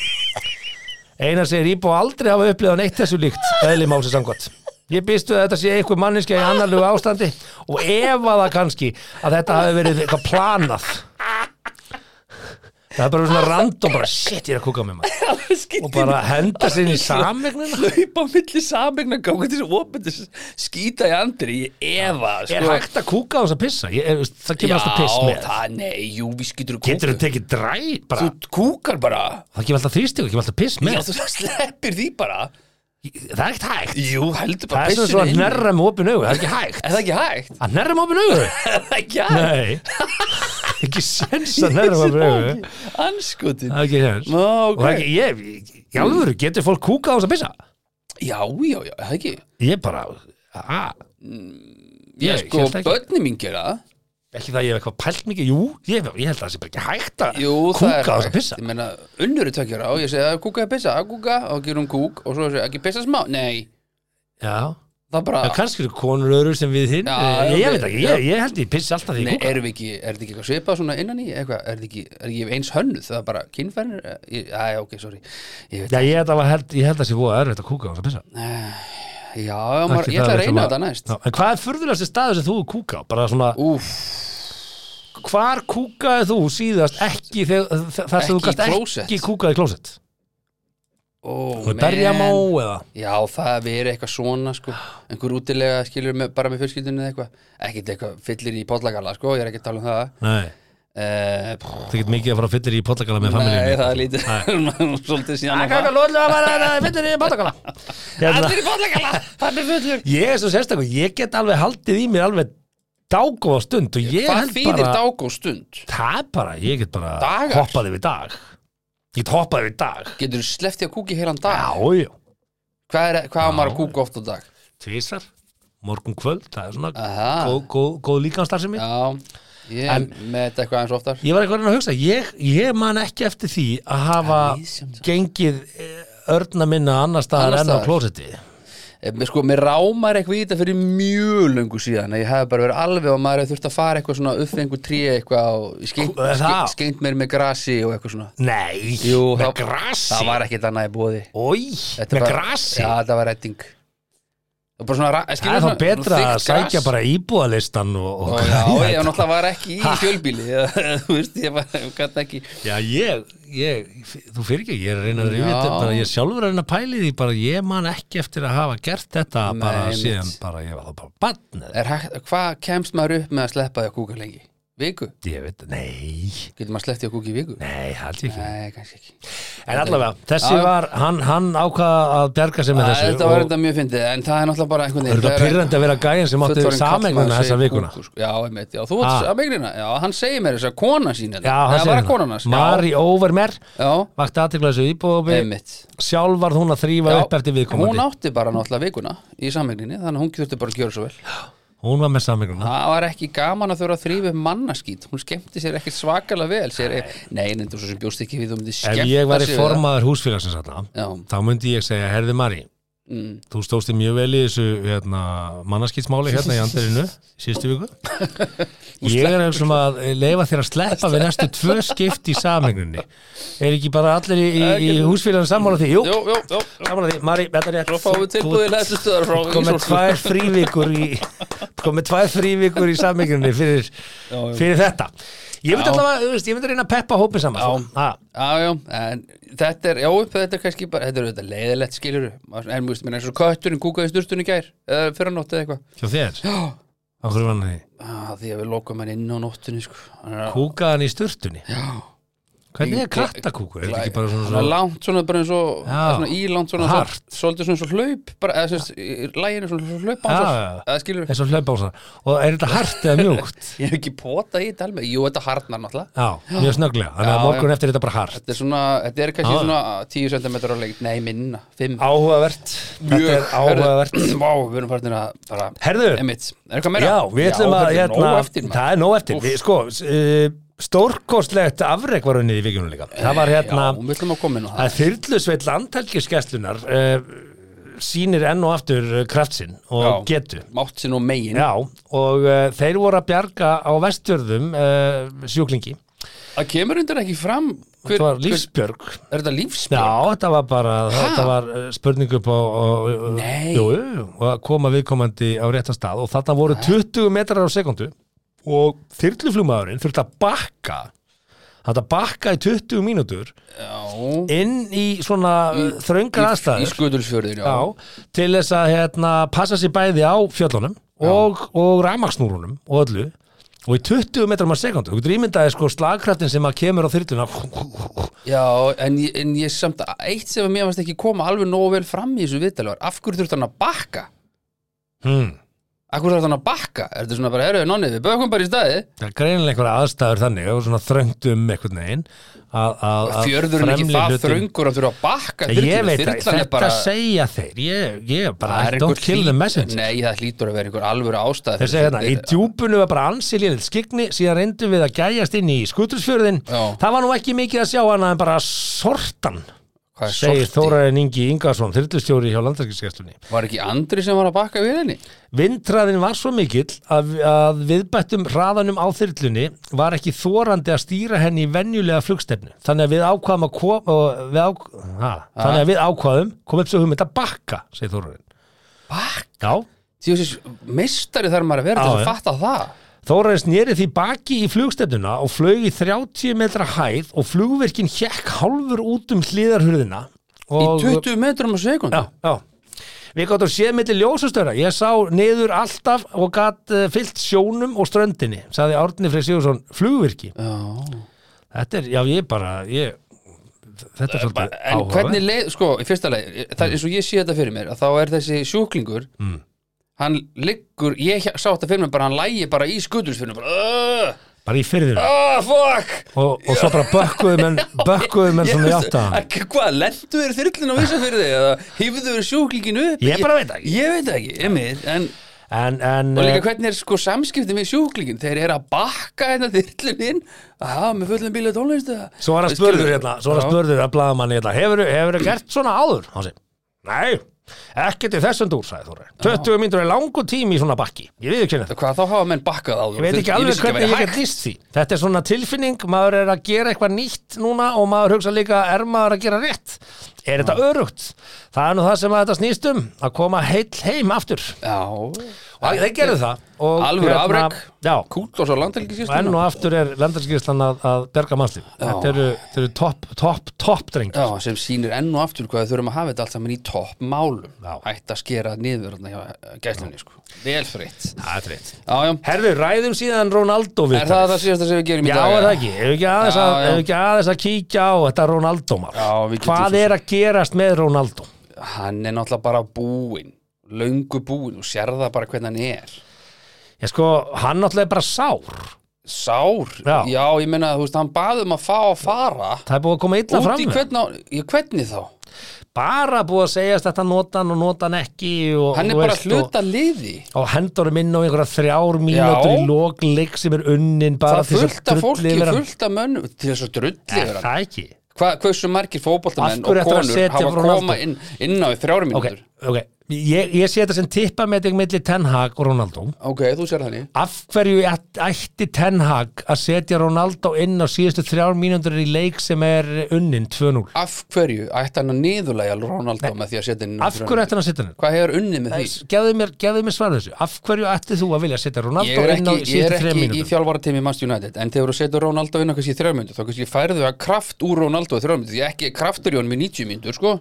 Einar segir íbúð aldrei hafa upplifað neitt þessu líkt, eðli málsi samkvæmt. Ég býst við að þetta sé einhver manninskja í annarlegu ástandi og efa það kannski að þetta hafi verið eitthvað planað. Það er bara svona random, bara shit, ég er að kúka með maður Það skýtti og bara henda sér í samegnina Hlaupa á milli samegna gangi til þessu opið skýta í andri í efa sko. er hægt að kúka á þess að pissa ég, er- það kemur alltaf piss Já, með það, nei, jú, við skýtur kúka getur þú tekið dræ bara, Þú kúkar bara það kemur alltaf þrýstík það kemur alltaf piss Já, með þú sleppir því bara það er ekkert hægt Jú, það heldur bara er svona pissunni svona að inni. nærra með opin augu það er ekki hægt Er það ekki hægt? að nærra með opin augu Er það ekki hægt? nei ekki sens að nærra með opin augu Anskutin það er ekki sens Ó, og ekki, ég, ég- í alvöru getur fólk kúka á þess að pissa Já, já, já, það ekki ég bara, a, Ég Ég sko, hélt ekki. börni mín gera það. ekki það ég hef eitthvað pælt mikið jú, ég, ég held að það sé bara ekki hægt að Jú, það er kúka á þess að hægt. pissa Ég meina, unnur er tökjara og ég segi kúka eða pissa, að kúka og gerum kúk og svo segi ekki pissa smá, nei já Það er bara, Já, kannski eru konur öðru sem við hinn Já, ég, já, ég veit ekki, já. ég, ég held ég pissi alltaf því nei, erum við ekki er þetta ekki eitthvað svipað svona innan í, eitthvað er þetta ekki, er ekki eins hönnuð, það er bara kynfærnir Æ, ok, sorry Ég veit, Já, ég held að, held, ég held að sé voða erfitt að kúka á þess að pissa já, já, maður, Ekki ég ætla það að er reyna svona- þetta Já, næst En hvað er furðulegasti staður sem þú hefur kúkað á? Bara svona, Úf, hvar kúkaði þú síðast ekki þegar, þar sem þú Ekki í gast klósett. ekki kúkaði í klósett? ó, Þú berja má eða? Já, það verið eitthvað svona sko, einhver útilega skilur með, bara með fjölskyldunni eða eitthvað, ekkert eitthvað fyllir í póllagalla sko, ég er ekki að tala um það Nei, Eh, pff, Það get mikið að fara fyllir í pollakala með Nei, það er familjum lítið Svolítið síðan á Akka, akka, það lóðlega að fara fyllir í pollakala Hérna Allir í bollakala Hann er fullur Ég er svo sérstakur, ég get alveg haldið í mér alveg dágóða stund og ég Hvað held þýðir bara dágó stund? Það er bara, ég get bara Dagar? hoppað yfir dag Ég get hoppað yfir dag Getur þú sleftið að kúki heilan dag? Já, já, Hvað, er, hvað á maður að kúka oft á dag? tvisar Morgun kvöld, það er svona Aha. góð, góð, góð líkanstarfsemi Já, ég En- með þetta eitthvað eins oftar Ég var eitthvað að reyna að hugsa, ég, ég man ekki eftir því að hafa Það er misjafnt. gengið eh, örna minna annar staðar Annars enn á staðar. klósetti Eh, mér Sko, mér rámar eitthvað í þetta fyrir mjög löngu síðan Ég hef bara verið alveg og maður hefði þurft að fara eitthvað svona upp við einhver trí eitthvað og skeint, Kú- það? skeint, skeint mér með grasi og eitthvað svona Nei, Jú, með það- grasi Það var ekkert annað í bóði Ói, Þetta er með bara- grasi Já, þetta var redding Og bara svona ra- Það skilur er svona- þá betra svona að þykkt sækja gras. bara íbúðalistan og, og Og já, ég náttúrulega var ekki í fjölbíli Þú veist, ég var gæti ekki Já, ég, ég, þú fyrir ekki, ég er að reyna að reyna Já. þetta, bara ég sjálfur er að reyna að pæli því, bara ég man ekki eftir að hafa gert þetta Nei, bara einmitt. síðan, bara ég var þá bara bann, Er hægt- Hvað kemst maður upp með að sleppa því að kúka lengi? Viku? ég veit, nei, Getur maður sleppt því að kúka í viku? nei, held ég ekki. Nei, kannski ekki En allavega, þessi Já, já. var, hann, hann ákvað að bjarga sig með Æ, þessu Þetta og var þetta mjög fyndið, en það er náttúrulega bara einhvern er þetta pyrrandi að vera gæðin sem átti fullorðinn samegnuna karlmaður þessa segir vikuna. kúkur, sko. Já, einmitt, já, þú Ha. átt sameignina Já, hann segir mér þess að kona sín Já, hann það segir var það. konan hans já. Mari Overmer Já, vakti aðtekla þessu íbúðubi, einmitt sjálf var hún að þrýfa upp eftir Hún viðkomandi. átti bara náttúrulega vikuna í sameigninni þannig að hún þurfti bara að gjöra svo vel Hún var með samegnuna. Það var ekki gaman að þurfa að þrýfa upp mannaskít Hún skemmti sér ekkert svakalega vel sér, Nei, en þú svo sem bjóst ekki við þú myndir Ef skemmta ég væri sér við formaður húsfélagsins þarna, það. Já, þá myndi ég segja, herði Mari, mm, þú stóðst þig mjög vel í þessu hérna, mannaskýtsmáli hérna í andirinu síðustu viku ég er eins og að leifa þér að sleppa við næstu tvö skipt í samhengunni er ekki bara allir í, í, í húsfélagum sammála því? Jú, Jú, jú, jú, jú. sammála því, Mari, þetta er rétt Svo fáum við tilbúðið hlæðsustöðar frá komið Ísólfsku. tvær frívikur í komið tvær frívikur í samhengunni fyrir, já. fyrir þetta ég myndi Já. allavega, þú veist, ég myndi reyna að peppa hópin saman Já. ha, Já, já, en þetta er, já, upp þetta er kannski bara, þetta er auðvitað leiðilegt skilur en mjög minna eins og kötturinn kúkaði í sturtunni í gær eða fyrir að eða eitthvað hjá þér á hverju vann því, ah, því að við lokum hann inn á nóttunni sko. hann er kúkaðan í sturtunni Já. hvernig er kattakúku, er þetta ekki bara svona, hann er svona langt svona bara eins og Já. svona ílangt svona, Hart. svona svolítið svona eins og hlaup bara, eða sem sagt, lægin er svona eins og hlaup Já, án já, já. þess, eða skilur eins og hlaupbásar og er þetta hart eða mjúkt ég hef ekki potað í þetta alveg, jú, þetta harnar náttúrulega já, mjög snögglega, þannig að Já, morgun eftir er þetta bara hart þetta er svona, þetta er kannski Já. svona 10 cm á lengt, nei, minna, 5 áhugavert, þetta er áhugavert Vá, við erum farin að bara herðu, Einmitt, er eitthvað meira? já, við ætlum að þetta er hérna, nóg eftir, maður. það er nóg eftir Úff. við, sko, uh, stórkostlegt afreg var unnið í vikunum líka það var hérna, Eh, Já, við ætlum að koma inn á það að þyrlusveit landhelgiskeslunar uh, sýnir enn og aftur eh, kraft sinn og Já. getu Mátt sinn og megin Já, og uh, þeir voru að bjarga á vestjörðum uh, sjúklingi. Það kemur undir ekki fram hver, Þetta var lífsbjörg. hver, Er þetta lífsbjörn? Já, þetta var bara, þetta var eh, spurning upp á, á Nei. jú, jú, og að koma viðkomandi á réttan stað og þarna voru 20 metrar á sekundu og þyrluflugmaðurinn þurfti að bakka þetta bakka í 20 mínútur Já, inn í svona í, þröngar Í, í aðstæður skutulsfjörðin, já. já, til þess að hérna, passa sér bæði á fjöllunum og, og ramaksnúrunum og öllu og í 20 metrum á sekundu, þú getur ímyndaði sko slagkraftin sem að kemur á þyrluna Já, en, ég- en ég samt að eitt sem að mér varst ekki koma alveg nógu vel fram í þessu viðtali var Af hverju þurft hann að bakka? hmm. Af hverju þurft hann að bakka? Er þetta svona bara, herru, nonni, við bökum bara í staði Það er greinilega einhverja aðstæður þannig og svona þröngt um einhvern veginn að, að, að Fjörðurinn ekki fremri það hlutinn- þröngur að þurfa að bakka Ég þyrlunni. veit að Þyrlan er þetta segja þeir Ég, ég bara, Það er I don't einhver kill the hlý- message Nei, það hlýtur að vera einhver alvöru ástæð Þeir segja hérna, í djúpunu var bara ansi liðið skikni síðan reyndum við að gæjast inn í skutursfjörðin Já. Það var nú ekki mikið að sjá hana en bara sortan segir Þóra Þórarinn Ingi Ingarsson, þyrlustjóri hjá landarkiskestunni Var ekki Andri sem var að bakka við henni? Vindræðin var svo mikill að, að viðbættum hraðanum á þyrlunni var ekki þorandi að stýra henni í venjulega flugstefnu. Þannig að við ákvaðum að kom, og við ák, ha, þannig að við ákvaðum kom upp svo hugmynd að bakka, segir Þórarinn. Bakk? Já, Þjóðsins, mistari þarf maður að vera Já, til að já. fatta það Þórarinn sneri því baki í flugstefnuna og flög í 30 metra hæð og flugverkin hjekk hálfur út um hliðarhurðina. Í og- 20 metrum á sekund já, já. Við gáttum séð milli ljósastöra. Ég sá niður eh, alltaf og gatt uh, fyllt sjónum og ströndinni, saði Árni Freyr Sigursson, flugvirki. Já, Þetta er, já ég bara ég, Þetta er svolítið Eh, en áhuga hvernig leið, sko, í fyrsta leið það, eins og ég sé þetta fyrir mér, að þá er þessi sjúklingur Mm. hann liggur ég hjá- sá þetta fyrir mér bara, hann lægi bara í skutursfinu bara, "Ugh, Bara í fyrðinu ah, fuck og, og svo bara bökkuðu menn bökkuðu menn svona í átta Ekki hvað, lendu þér þyrlun á vissa fyrir þig eða hýfðu þér sjúklinginu upp Ég bara veit það ekki. Ég veit það ekki, emið en, en, en Og líka eh, hvernig er sko samskiptin við sjúklingin þeir eru að bakka hérna þyrlun inn að hafa með fullum bíla tónlist eða- svo var hann Skilur- spurður hérna svo var hann Já. spurður að blaða manni hérna hefurðu hefur gert svona áður? Hann segi, nei, ekki til þessum dúr, sagði Þóra 20 mínútur er langu tími í svona bakki ég við ekki Og Hvað þá hafa menn bakkað á þú Ég veit ekki alveg hvernig ég get líst því Þetta er svona tilfinning, maður er að gera eitthvað nýtt núna og maður hugsa líka er maður að gera rétt Er þetta örugt? Það er nú það sem að þetta snýst um að koma heill heim aftur Já, og þeir gerðu það og alvöru hérna, afrek Já, kúl og svo og enn landhelgisýsluna og aftur er lendarskýrslan að, að berga mannslíf Þetta eru, þetta eru topp, topp, topp drengir Já, sem sýnir enn og aftur hvað við þurfum að hafa þetta allt saman í topp málum Já. Hætt að skera niður þarna hjá gæslinni sko. Vel fritt Það er rétt Já, já, Herðu, ræðum síðan Ronaldo Er það það síðasta sem við gerum í Já, dag? er það ekki, ef við ekki aðeins, Já, að, já. ef við ekki aðeins að kíkja á þetta Ronaldo-mál Já, við getum svo Hvað sem- er að gerast með Ronaldo? Hann er náttúrulega bara búinn, löngu búinn og sér það bara hvernig hann er. Ég sko, hann náttúrulega er bara sár Sár? Já. ég meina, þú veist, hann baði um að fá að fara. Það er búið að koma illa Út fram í við hann. hvernig, á- í hvernig þá? Bara búið að segjast þetta nota hann og nota hann ekki og, Hann þú er bara veist, hluta liði. og, og hendurum inn á einhverja þrjár mínútur í lokleik sem er unnin Það bara er fullt af fólki, yfir hann. fullt af mönnum, til þess að drulli Er yfir hann. það ekki? Hva, hversu margir Af fótboltamenn hverju ættir og að konur setja hafa Ronaldo? koma inn, inn á í þrjára Ok, mínútur? ok Ég, ég sé þetta sem tippa með þig milli Ten Hag og Ronaldo Ok, þú sér þannig. Af hverju ætt- ætti Ten Hag að setja Ronaldo inn á síðustu þrjár mínútur í leik sem er unnin 2-0? Af hverju ætti hann að niðurlega Ronaldo með því að setja inn á Af hverju þrjár mínútur? ætti hann að setja hann? inn? Hvað hefur unnið með því? gefðu mér, gefðu mér svar þessu af hverju ætti þú að vilja setja Ég Ronaldo er inn á ekki, ég er síðustu þreja ekki í mínútur þjálfara teimi Manst United en þegar þú setur Ronaldo inn á kannski í þrjá mínútur þá kannski færðu að kraft úr Ronaldo í þrjá mínútur því ekki er kraftur í honum í 90 mínútur sko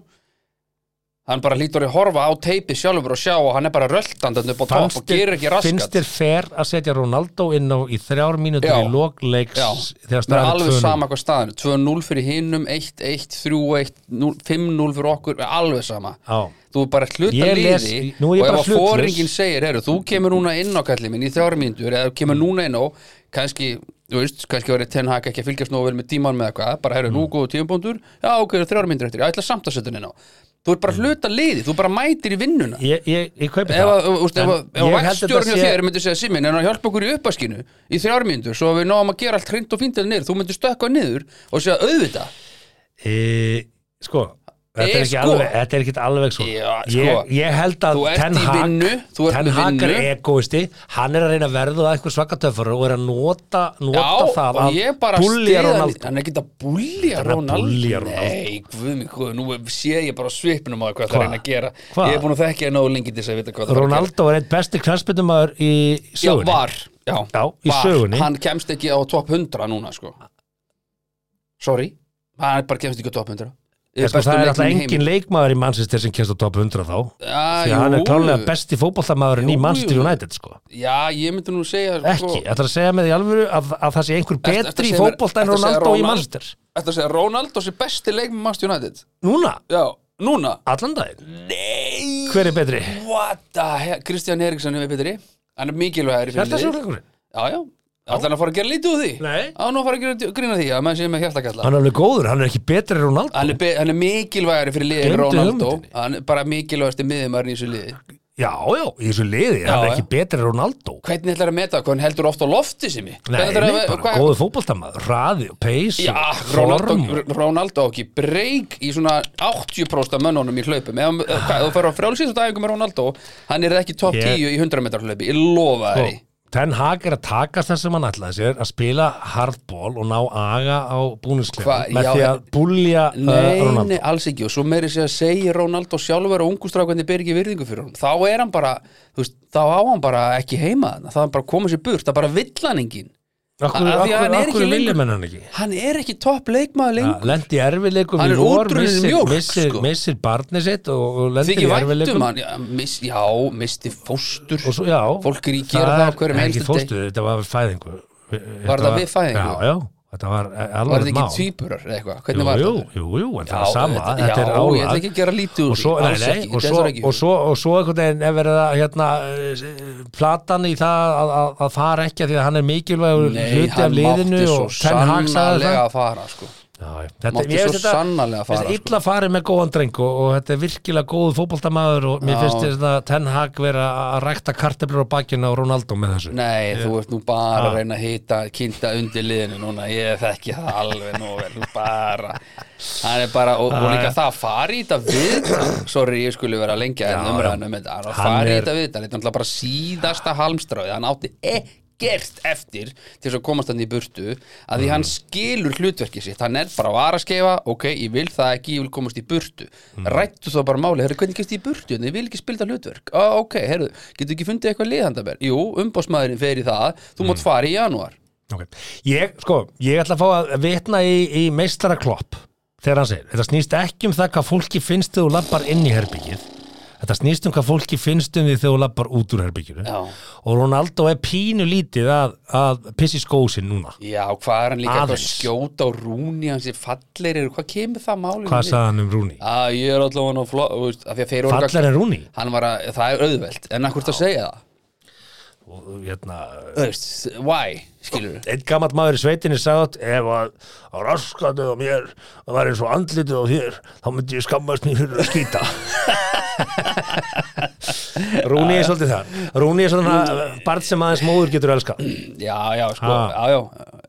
hann bara lítur að horfa á teipi sjálfur og sjá og hann er bara röldandann upp á topp og gerir ekki finnst raskat þér fer að setja Ronaldo inn á í þrjár mínútur Já. í lokleiks Já, þegar það er staðan alveg er 2-0 sama hvað staðan er. 2-0 fyrir hinnum, 1-1, 3-1 0 5-0 fyrir okkur, alveg sama Já. þú er bara hluta Ég les- liði nú er ég og bara ef að hlutlaus. fóringin segir, heru, þú kemur núna inn á kallið minn í þrjár mínútur eða þú kemur núna inn á kannski, þú veist, kannski verið Ten Hag ekki að fylgjast nógu vel með tíman með eitthvað bara heru, Mm. nú góðu tíumbóndur, já ok, það eru þrjár mínútur eftir, ég ætla samt að setja hann inn á þú er bara hluta liði, þú bara mætir í vinnuna Mm. ég, ég, ég kaupi ef að, það úst, ef að, En ef að ég held þetta vaktstjórn hjá sé- þér myndi segja Simin en að hjálpa okkur í uppaskinu í þrjár mínútur svo að við náum að gera allt hreint og fíndið niður þú myndir stökka niður og segja auðvita e, sko Þetta er, Eh, ekki sko. alveg, þetta er ekki alveg svo Já, sko. ég, ég held að Þú ert Ten í Hag vinnu, þú ert Ten í Hag er vinnu. egoisti hann er að reyna að verða að eitthvað svakatöfara og er að nota, nota það og að ég bara búlja styð hann- Ronaldo hann er ekki að búlja er að búllja Ronaldo Ronaldo. nei, guð mig, guð, nú sé ég bara á svipnum á því hvað Hva? það reyna að gera Hva? ég er búin að þekkja það nógu lengi til þess að vita hvað það var að gera Ronaldo er eitt besti knarspindumæður í já, sögunni var, já, Já, í var. sögunni. hann kemst ekki á top 100 núna sko. sorry, hann bara kemst ekki á top 100 Ég, sko, Bestu það er alltaf leikmenn í engin heiminum. leikmaður í Manchester sem kemst á top 100 þá Já, því að hann er jú. klálega besti fótballtamaðurinn í Jú, Manchester jú. United sko. Já, ég myndi nú segja ekki, sko, þetta er að segja með því alvöru að, að það sé einhver ertu að betri í segja mér- fótballta en ertu að Ronaldo segja í Ronald- Manchester Þetta að segja Ronaldo sé besti leik með Manchester United núna, Já, núna allan daginn Nei hver er betri? What the hell Kristján Eriksson er betri Hann er mikilvægari fyrir Þetta er liðið. sjálfleikurinn Já, já Alltaf hann að fara að gera lítið úr því Nei. Á, nú að fara að gera grína því að menn sé með hjartakalla hann er alveg góður, hann er ekki betri en Ronaldo Hann er, be- hann er mikilvægari fyrir liðið en Gleymdu Ronaldo hugmyndinni. Hann er bara mikilvægasti miðumærin í þessu liði já, já, í þessu liði, hann er já. ekki betri en Ronaldo Hvernig ætlar að meta hvað hann heldur oft á lofti sem ég nei, nei, bara góður fótballtamaður hraði og peys Já, Ronaldo, Ronaldo á ekki breyk í svona 80% af mönnunum í hlaupum ef hann- hvað, þú fer á frjálsýnsdæfingu með Ronaldo hann er ekki top Ég- 10 í 100 metrar hlaupi ég lofa Sko, þér Ten Hag er að takast það sem hann ætlaði sér að spila hardball og ná aga á Hva- búninsklefa með já, því að búlja uh, Nei, Ronaldo nei, alls ekki og svo meiri sé að segja Ronaldo sjálfur og ungustrákandi ber ekki virðingu fyrir honum þá er hann bara, þú veist, þá á hann bara ekki heima þarna, þá er hann bara komið sér burt það bara vill hann engin Akkur, Af því að akkur, hann er akkur, ekki akkur vilja lengur- menn hann ekki hann er ekki topp leikmaður lengur Lendi erfileikum Hann í er vor útrunninn missir, mjólk, missir, sko. missir barnið sitt og, og lendir Þykir í vænt um erfileikum hann, já, miss, já, misti fóstur og svo, já, Fólk er í gera það á hverjum er einasta ekki degi. fóstuð, þetta var við fæðingu Var það við fæðingu? Já, já, Þetta var Var alveg þetta ekki tvíburar eða eitthvað? Hvernig var jú, þetta? jú, jú, en það Já, er sama þetta- þetta er já, ég ætla ekki að gera lítið úr og svo, því, nei, alls nei, ekki, og þetta svo, er ekki- og svo, og svo einhvern veginn er verið að hérna, eh, platan í það að, að, að fara ekki að því að hann er mikilvægur hluti af liðinu svo og Ten Hag sagði sannlega það að fara sko. Já, já, þetta, Mátti ég svo veist þetta- sannarlega mér finnst fara, sko. illa farið með góðan dreng og, og þetta er virkilega góð fótboltamaður og mér Já. finnst þetta Ten Hag vera að rækta karteblur á bakinu á Ronaldo með þessu Nei, þú ert nú bara að reyna að hýta kynnta undir liðinu núna, ég þekki það alveg nú vel, þú bara hann er bara, og, og líka það að fara í þetta við, sorry, ég skulle vera lengi að umræðan um þetta, hann að Hann fara í er- þetta við þetta, er náttúrulega bara síðasta halmstráði, hann átti ekkert eftir til þess að komast hann í burtu að því Mm. hann skilur hlutverkið sitt hann er bara að vara að skeifa, ok, ég vil það ekki ég vil komast í burtu, Mm. rættu þá bara máli herru, hvernig kemst ég í burtu, en ég vil ekki spilta hlutverk ah, ok, herru, getur ekki fundið eitthvað liðhandabær jú, umbásmaðurinn fer í það þú Mm. mátt fara í janúar okay. Ég, sko, ég ætla að fá að vitna í, í meistara klopp þegar hann segir, þetta snýst ekki um það hvað fólki finnst þegar þú lappar inn í herbyggið þetta snýst um hvað fólki finnst um því þegar þú lappar út úr herbygginu Já. og Ronaldo er pínu lítið að, að pissi skósin núna já, hvað er hann líka eitthvað að Aðeins. skjóta á rúni hans er falleir, hvað kemur það máli Hvað sagði hann um Rúni? að ég er allavega hann á fló þú veist, af því að þeir voru Fallar en Rúni? hann var að, það er auðvelt, en akkur að segja það Og, Hérna, Þú veist, why, skilur við einn gammalt maður í sveitinni sagði átt ef að á raskatið á mér að vera eins og andlitið á þér þá myndi ég skammast mér fyrir að skýta Rúni er svolítið það Rúni er svona barn sem aðeins móður getur elska já, já, sko, Ha. já, já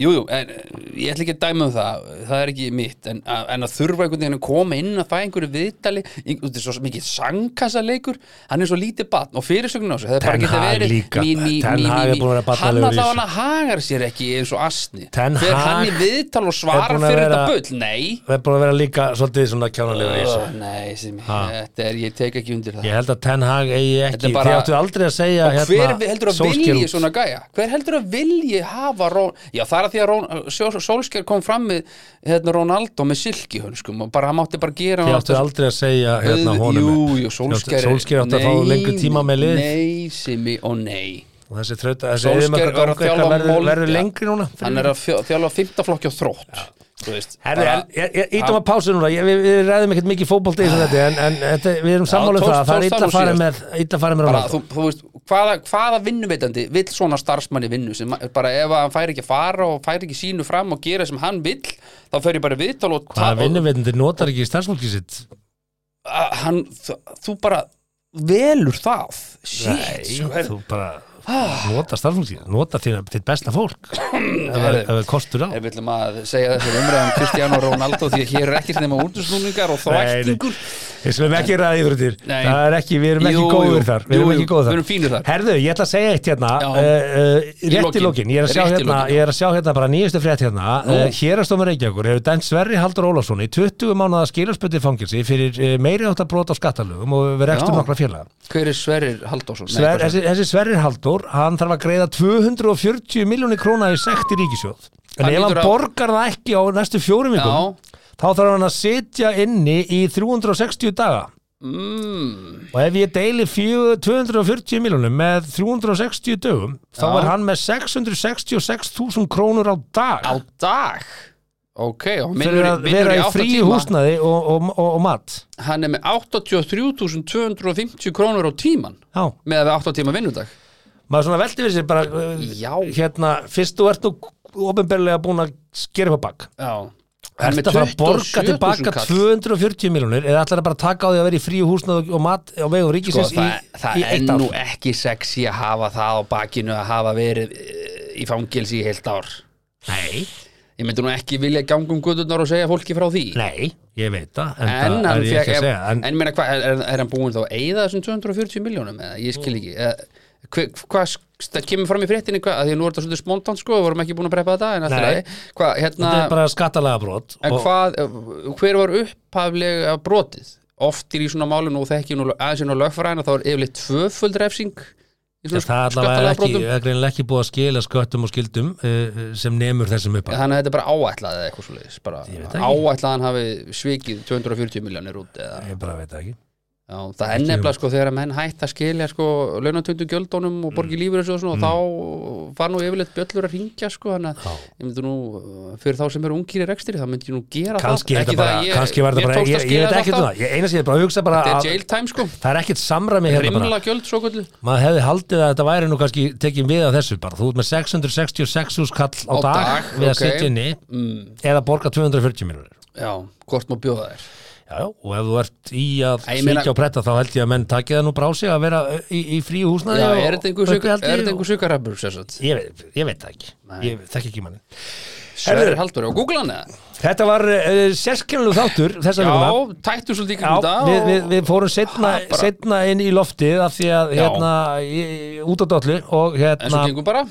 jú, jú, en eh, ég ætla ekki að dæma um það það er ekki mitt, en, en að þurfa einhvern veginn að koma inn að það einhverju viðtali ein- þetta er svo mikið sangkassalegur hann er svo lítið batn og fyrirsögnin á þessu það er bara Ten ekki að Hag verið líka. mí, mí, Ten mí, Hag er mí, búinn að mí. vera hann barnalegur í allavega hagar sér ekki eins og asni Ten fer hann Hag í viðtal og svarar búinn að fyrir þetta vera- bull, nei það er búin að vera líka svolítið svona kjánalega í þessu Ó, Nei, sem, þetta er, ég tek ekki undir það ég held að Ten Hag eigi Þetta ekki er bara- þið áttu aldrei að segja hérna, Og hver vi- heldur að Solskjaer vilji út. svona gæja? Hver heldur að vilji hafa Rón... Já, það er að því að Rón... Solskjær kom fram með hérna, Ronaldo með silkihönskum og bara hann mátti bara gera þið hann áttu aldrei að segja hérna Auð- honum Jú, jú, Solskjær Solskjær áttu að fá Nei, lengur tíma með lið Nei, Simi og nei og þessi þrauta, þessi Solskjær yfirmökkaganga er að þjálfa ykkar verður- Molde. verður lengri núna fyrir- Hann er að fjó- þjálfa fymtaflokki og þrótt Þú veist Herri, bara- en, ég, ég, ítum að pásu núna, ég, við, við ræðum ekkert mikið fótbolti í þessu þetta, en, en þetta, við erum sammála um tókst- það, það er tókst illa það nú farið með, síðast. illa farið með bara, Ronaldo. þú, þú veist, hvaða, hvaða vinnuveitandi vill svona starfsmanni vinnu sem ma- bara ef að hann fær ekki að fara og fær ekki sínu fram og gera sem hann vill þá fer ég bara í viðtal og Hvaða ta- og- vinnuveitandi notar ekki starfsfólkið sitt? að hann, þ- þú bara velur það Nei, Shit, sko, herri, þú bara Ah. nota starfsfólkið, nota þín, þitt besta fólk, ef það- ef það kostur á. Ef við ætlum að segja þessar umræðum Cristiano Ronaldo því að hér er ekkert nema útusnúningar og þvættingur Við skulum ekki ræða íþróttir, Nei. það er ekki, við erum ekki Jú, góður jú. þar, við Jú, erum jú, ekki góður við þar. erum fínir þar. Herðu, ég ætla að segja eitt hérna, Já. uh, uh, rétt í lokin. lokin, ég er að sjá Rétt í hérna, lokin, já. ég er að sjá hérna bara nýjustu frétt hérna, Nú. uh, hérastómur Reykjavíkur hefur dæmt Sverri Haldur Ólafsson í 20 mánuða skilurspöndi fangelsi fyrir uh, meiri átt að brota á skattalögum og við Já. rekstum nokkra félaga. Hver er Sverrir Halldórsson? Nei, Sver, hvað sagði- þessi, þessi Sverri Haldur, hann þarf að greiða 240 miljóni króna í sekt í ríkisjóð. En Hann ef hann lítur að- borgar það ekki á næstu fjórum vikum, Já, þá þarf hann að sitja inni í 360 daga. mm, Og ef ég deili fjö- 240 miljónum með 360 dögum, þá Já. er hann með 666.000 krónur á dag á dag Ok, fyrir og minnur, að minnur vera í í 8 frí tíma húsnaði og, og, og, og mat. Hann er með 83.250 krónur á tíman Já, með að við 8 tíma vinnudag maður svona velti við sér bara, uh, Já. hérna, fyrst þú ert nú ofinberlega búin að skera upp á bak. Já Hann Ertu er að fara að borga 27.000 tilbaka kall. 240 miljónir eða ætlar það bara að taka á því að vera í fríu húsnað og- og mat á vegum sko, ríkisins það, í, það í er eitt ár? nú e- ekki sexy að hafa það á bakinu að hafa verið eh, í fangelsi í heilt ár Nei, ég myndi nú ekki vilja ganga um guðurnar og segja fólki frá því nei, ég veit það, en, en, það hann er ég fekk ekki að en, segja. En, en meina hvað, er, er hann búin þá að eyða þessum 240 miljónum eða ég skil ekki eða, hve- hvað, það kemur fram í fréttinni hvað, að því að nú er þetta svolítið spontant sko, við vorum ekki búin að preppa þetta en allt í Nei. lagi. hvað, hérna þetta er bara skattalega brot. en og- hvað, hver var upphaflega brotið? Oftir í svona málum og þekki nú aðeins en á lögfræðina þá er yfirleitt tvöföld refsing í Já, svona það allavega er ekki, skattalagabrotum. er greinilega ekki búið að skila sköttum og skildum uh, sem nemur þessum upp Þannig að þetta er bara áætlað eða eitthvað svoleiðis bara Ég veit það ekki. áætlaðan hafi svikið 240 miljónir út eða, ég bara veit það ekki Já, það er nefnilega sko þegar að menn hætt að skilja sko launatöndu gjöldónum og borgi mm. lífur og svona og þá var nú yfirleitt bjöllur að ringja sko þannig að ég myndi nú uh, fyrir þá sem eru ungir í rekstri þá myndi ég nú gera kannski, það er þetta bara, ég- kannski var mér þetta bara tókst ég, að ég skilja veit þetta ekkert um alltaf. það, ég, eina sem ég bara hugsa bara Þetta að, er jail time sko það er ekkert samræmi hérna bara Rimla gjöld svo kvöldu maður hefði haldið að þetta væri nú kannski tekin við af þessu bara, þú ert með 666 hús kall á, Á dag, dag, við að ok. Mm. sitja inni eða borga 240 miljonir Já, hvort má bjóða þér Já, já, og ef þú ert í að Æ, ég meina- svíkja og pretta þá held ég að menn takja það nú brá sig að vera í, í frí húsnaði Já, og er þetta einhver sugar- uppihaldi er þetta og- einhver sugarrabbur sérsagt Ég veit, ég veit það ekki, ég þekki ekki manni Sverri Haldur á Google hann eða Þetta var uh, sérskilnuleg þáttur þessa vikuna Já, tættu svolítið ykkur um Já, þetta við, og- við, við fórum setna, Ha, bara- setna inn í loftið af því að Já. hérna, ég- út á dollu og En svo hérna, gengum bara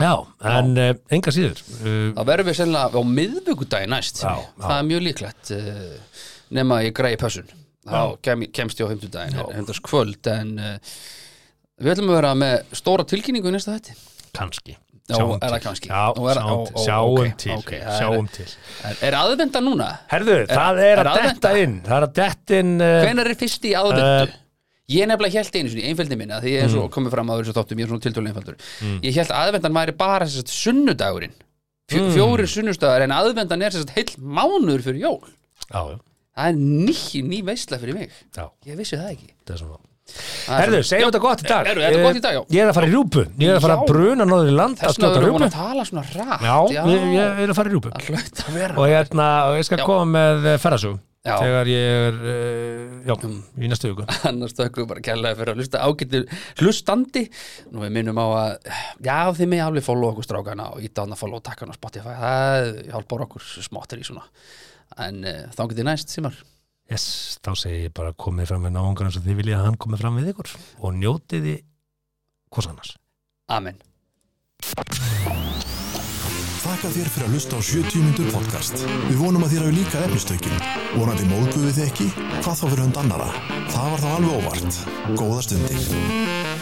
já, en uh, enga síður uh, Það verður við sennilega á miðvikudagi næst Já, já. Það er mjög líklegt uh, nema að ég græði pössun þá kem, kemst ég á heimtudaginn hendast kvöld en uh, við ætlum að vera með stóra tilkynningu í næsta þætti kannski Já, Sjáum er það til. kannski? Já, Og er- sjáum ó, til, ó, sjáum ok, til, ok, það er- sjáum til. Er, er aðvenda núna? Herðu, það er að detta aðventa? inn Það er að detta inn uh, Hvenær er fyrst í eh, aðvendu? ég nefnilega held einu sinni, einfældi minna því ég er Mm. svo komið fram að þessu þáttum, ég er svona tiltölu einfaldur ég held aðvendan væri bara þess að sunnudagurinn Fjó, Mm. fjórir sunnudagar en aðvendan er þess að heill mánuður fyrir jól Já, já, það er ný, ný veisla fyrir mig já, ég vissi það ekki það er svona Það er Herðu, svona- segjum þetta gott í dag Herðu, þetta er Eh, gott í dag, já. Ég er að fara í rjúpu, ég er að fara að Já. bruna náður í land að Þess vegna skjóta erum við búin rjúpu að tala svona rætt Já, ég, ég er að fara í rjúpu Það hlaut að vera og hérna, og ég skal Já. koma með ferðasug Já. Um. þegar ég er uh, já, í næstu viku annars þökkum við bara kærlega fyrir að hlusta ágættu hlustandi nú við minnum á að já þið með alveg follow okkur strákana og íta hann að follow takkana á Spotify það hjálpar okkur smáttir í svona en uh, þá getur næst símar yes, þá segi ég bara komið fram með náungar eins og þið viljið að hann komið fram við ykkur og njótiði hvors annars Amen Þakka þér fyrir að hlusta á 70 myndur podcast. Við vonum að þér hafi líka efnistökin. Vonandi móðguðu þið ekki? Hvað þá fyrir hund annara? Það var þá alveg óvart. Góða stundir.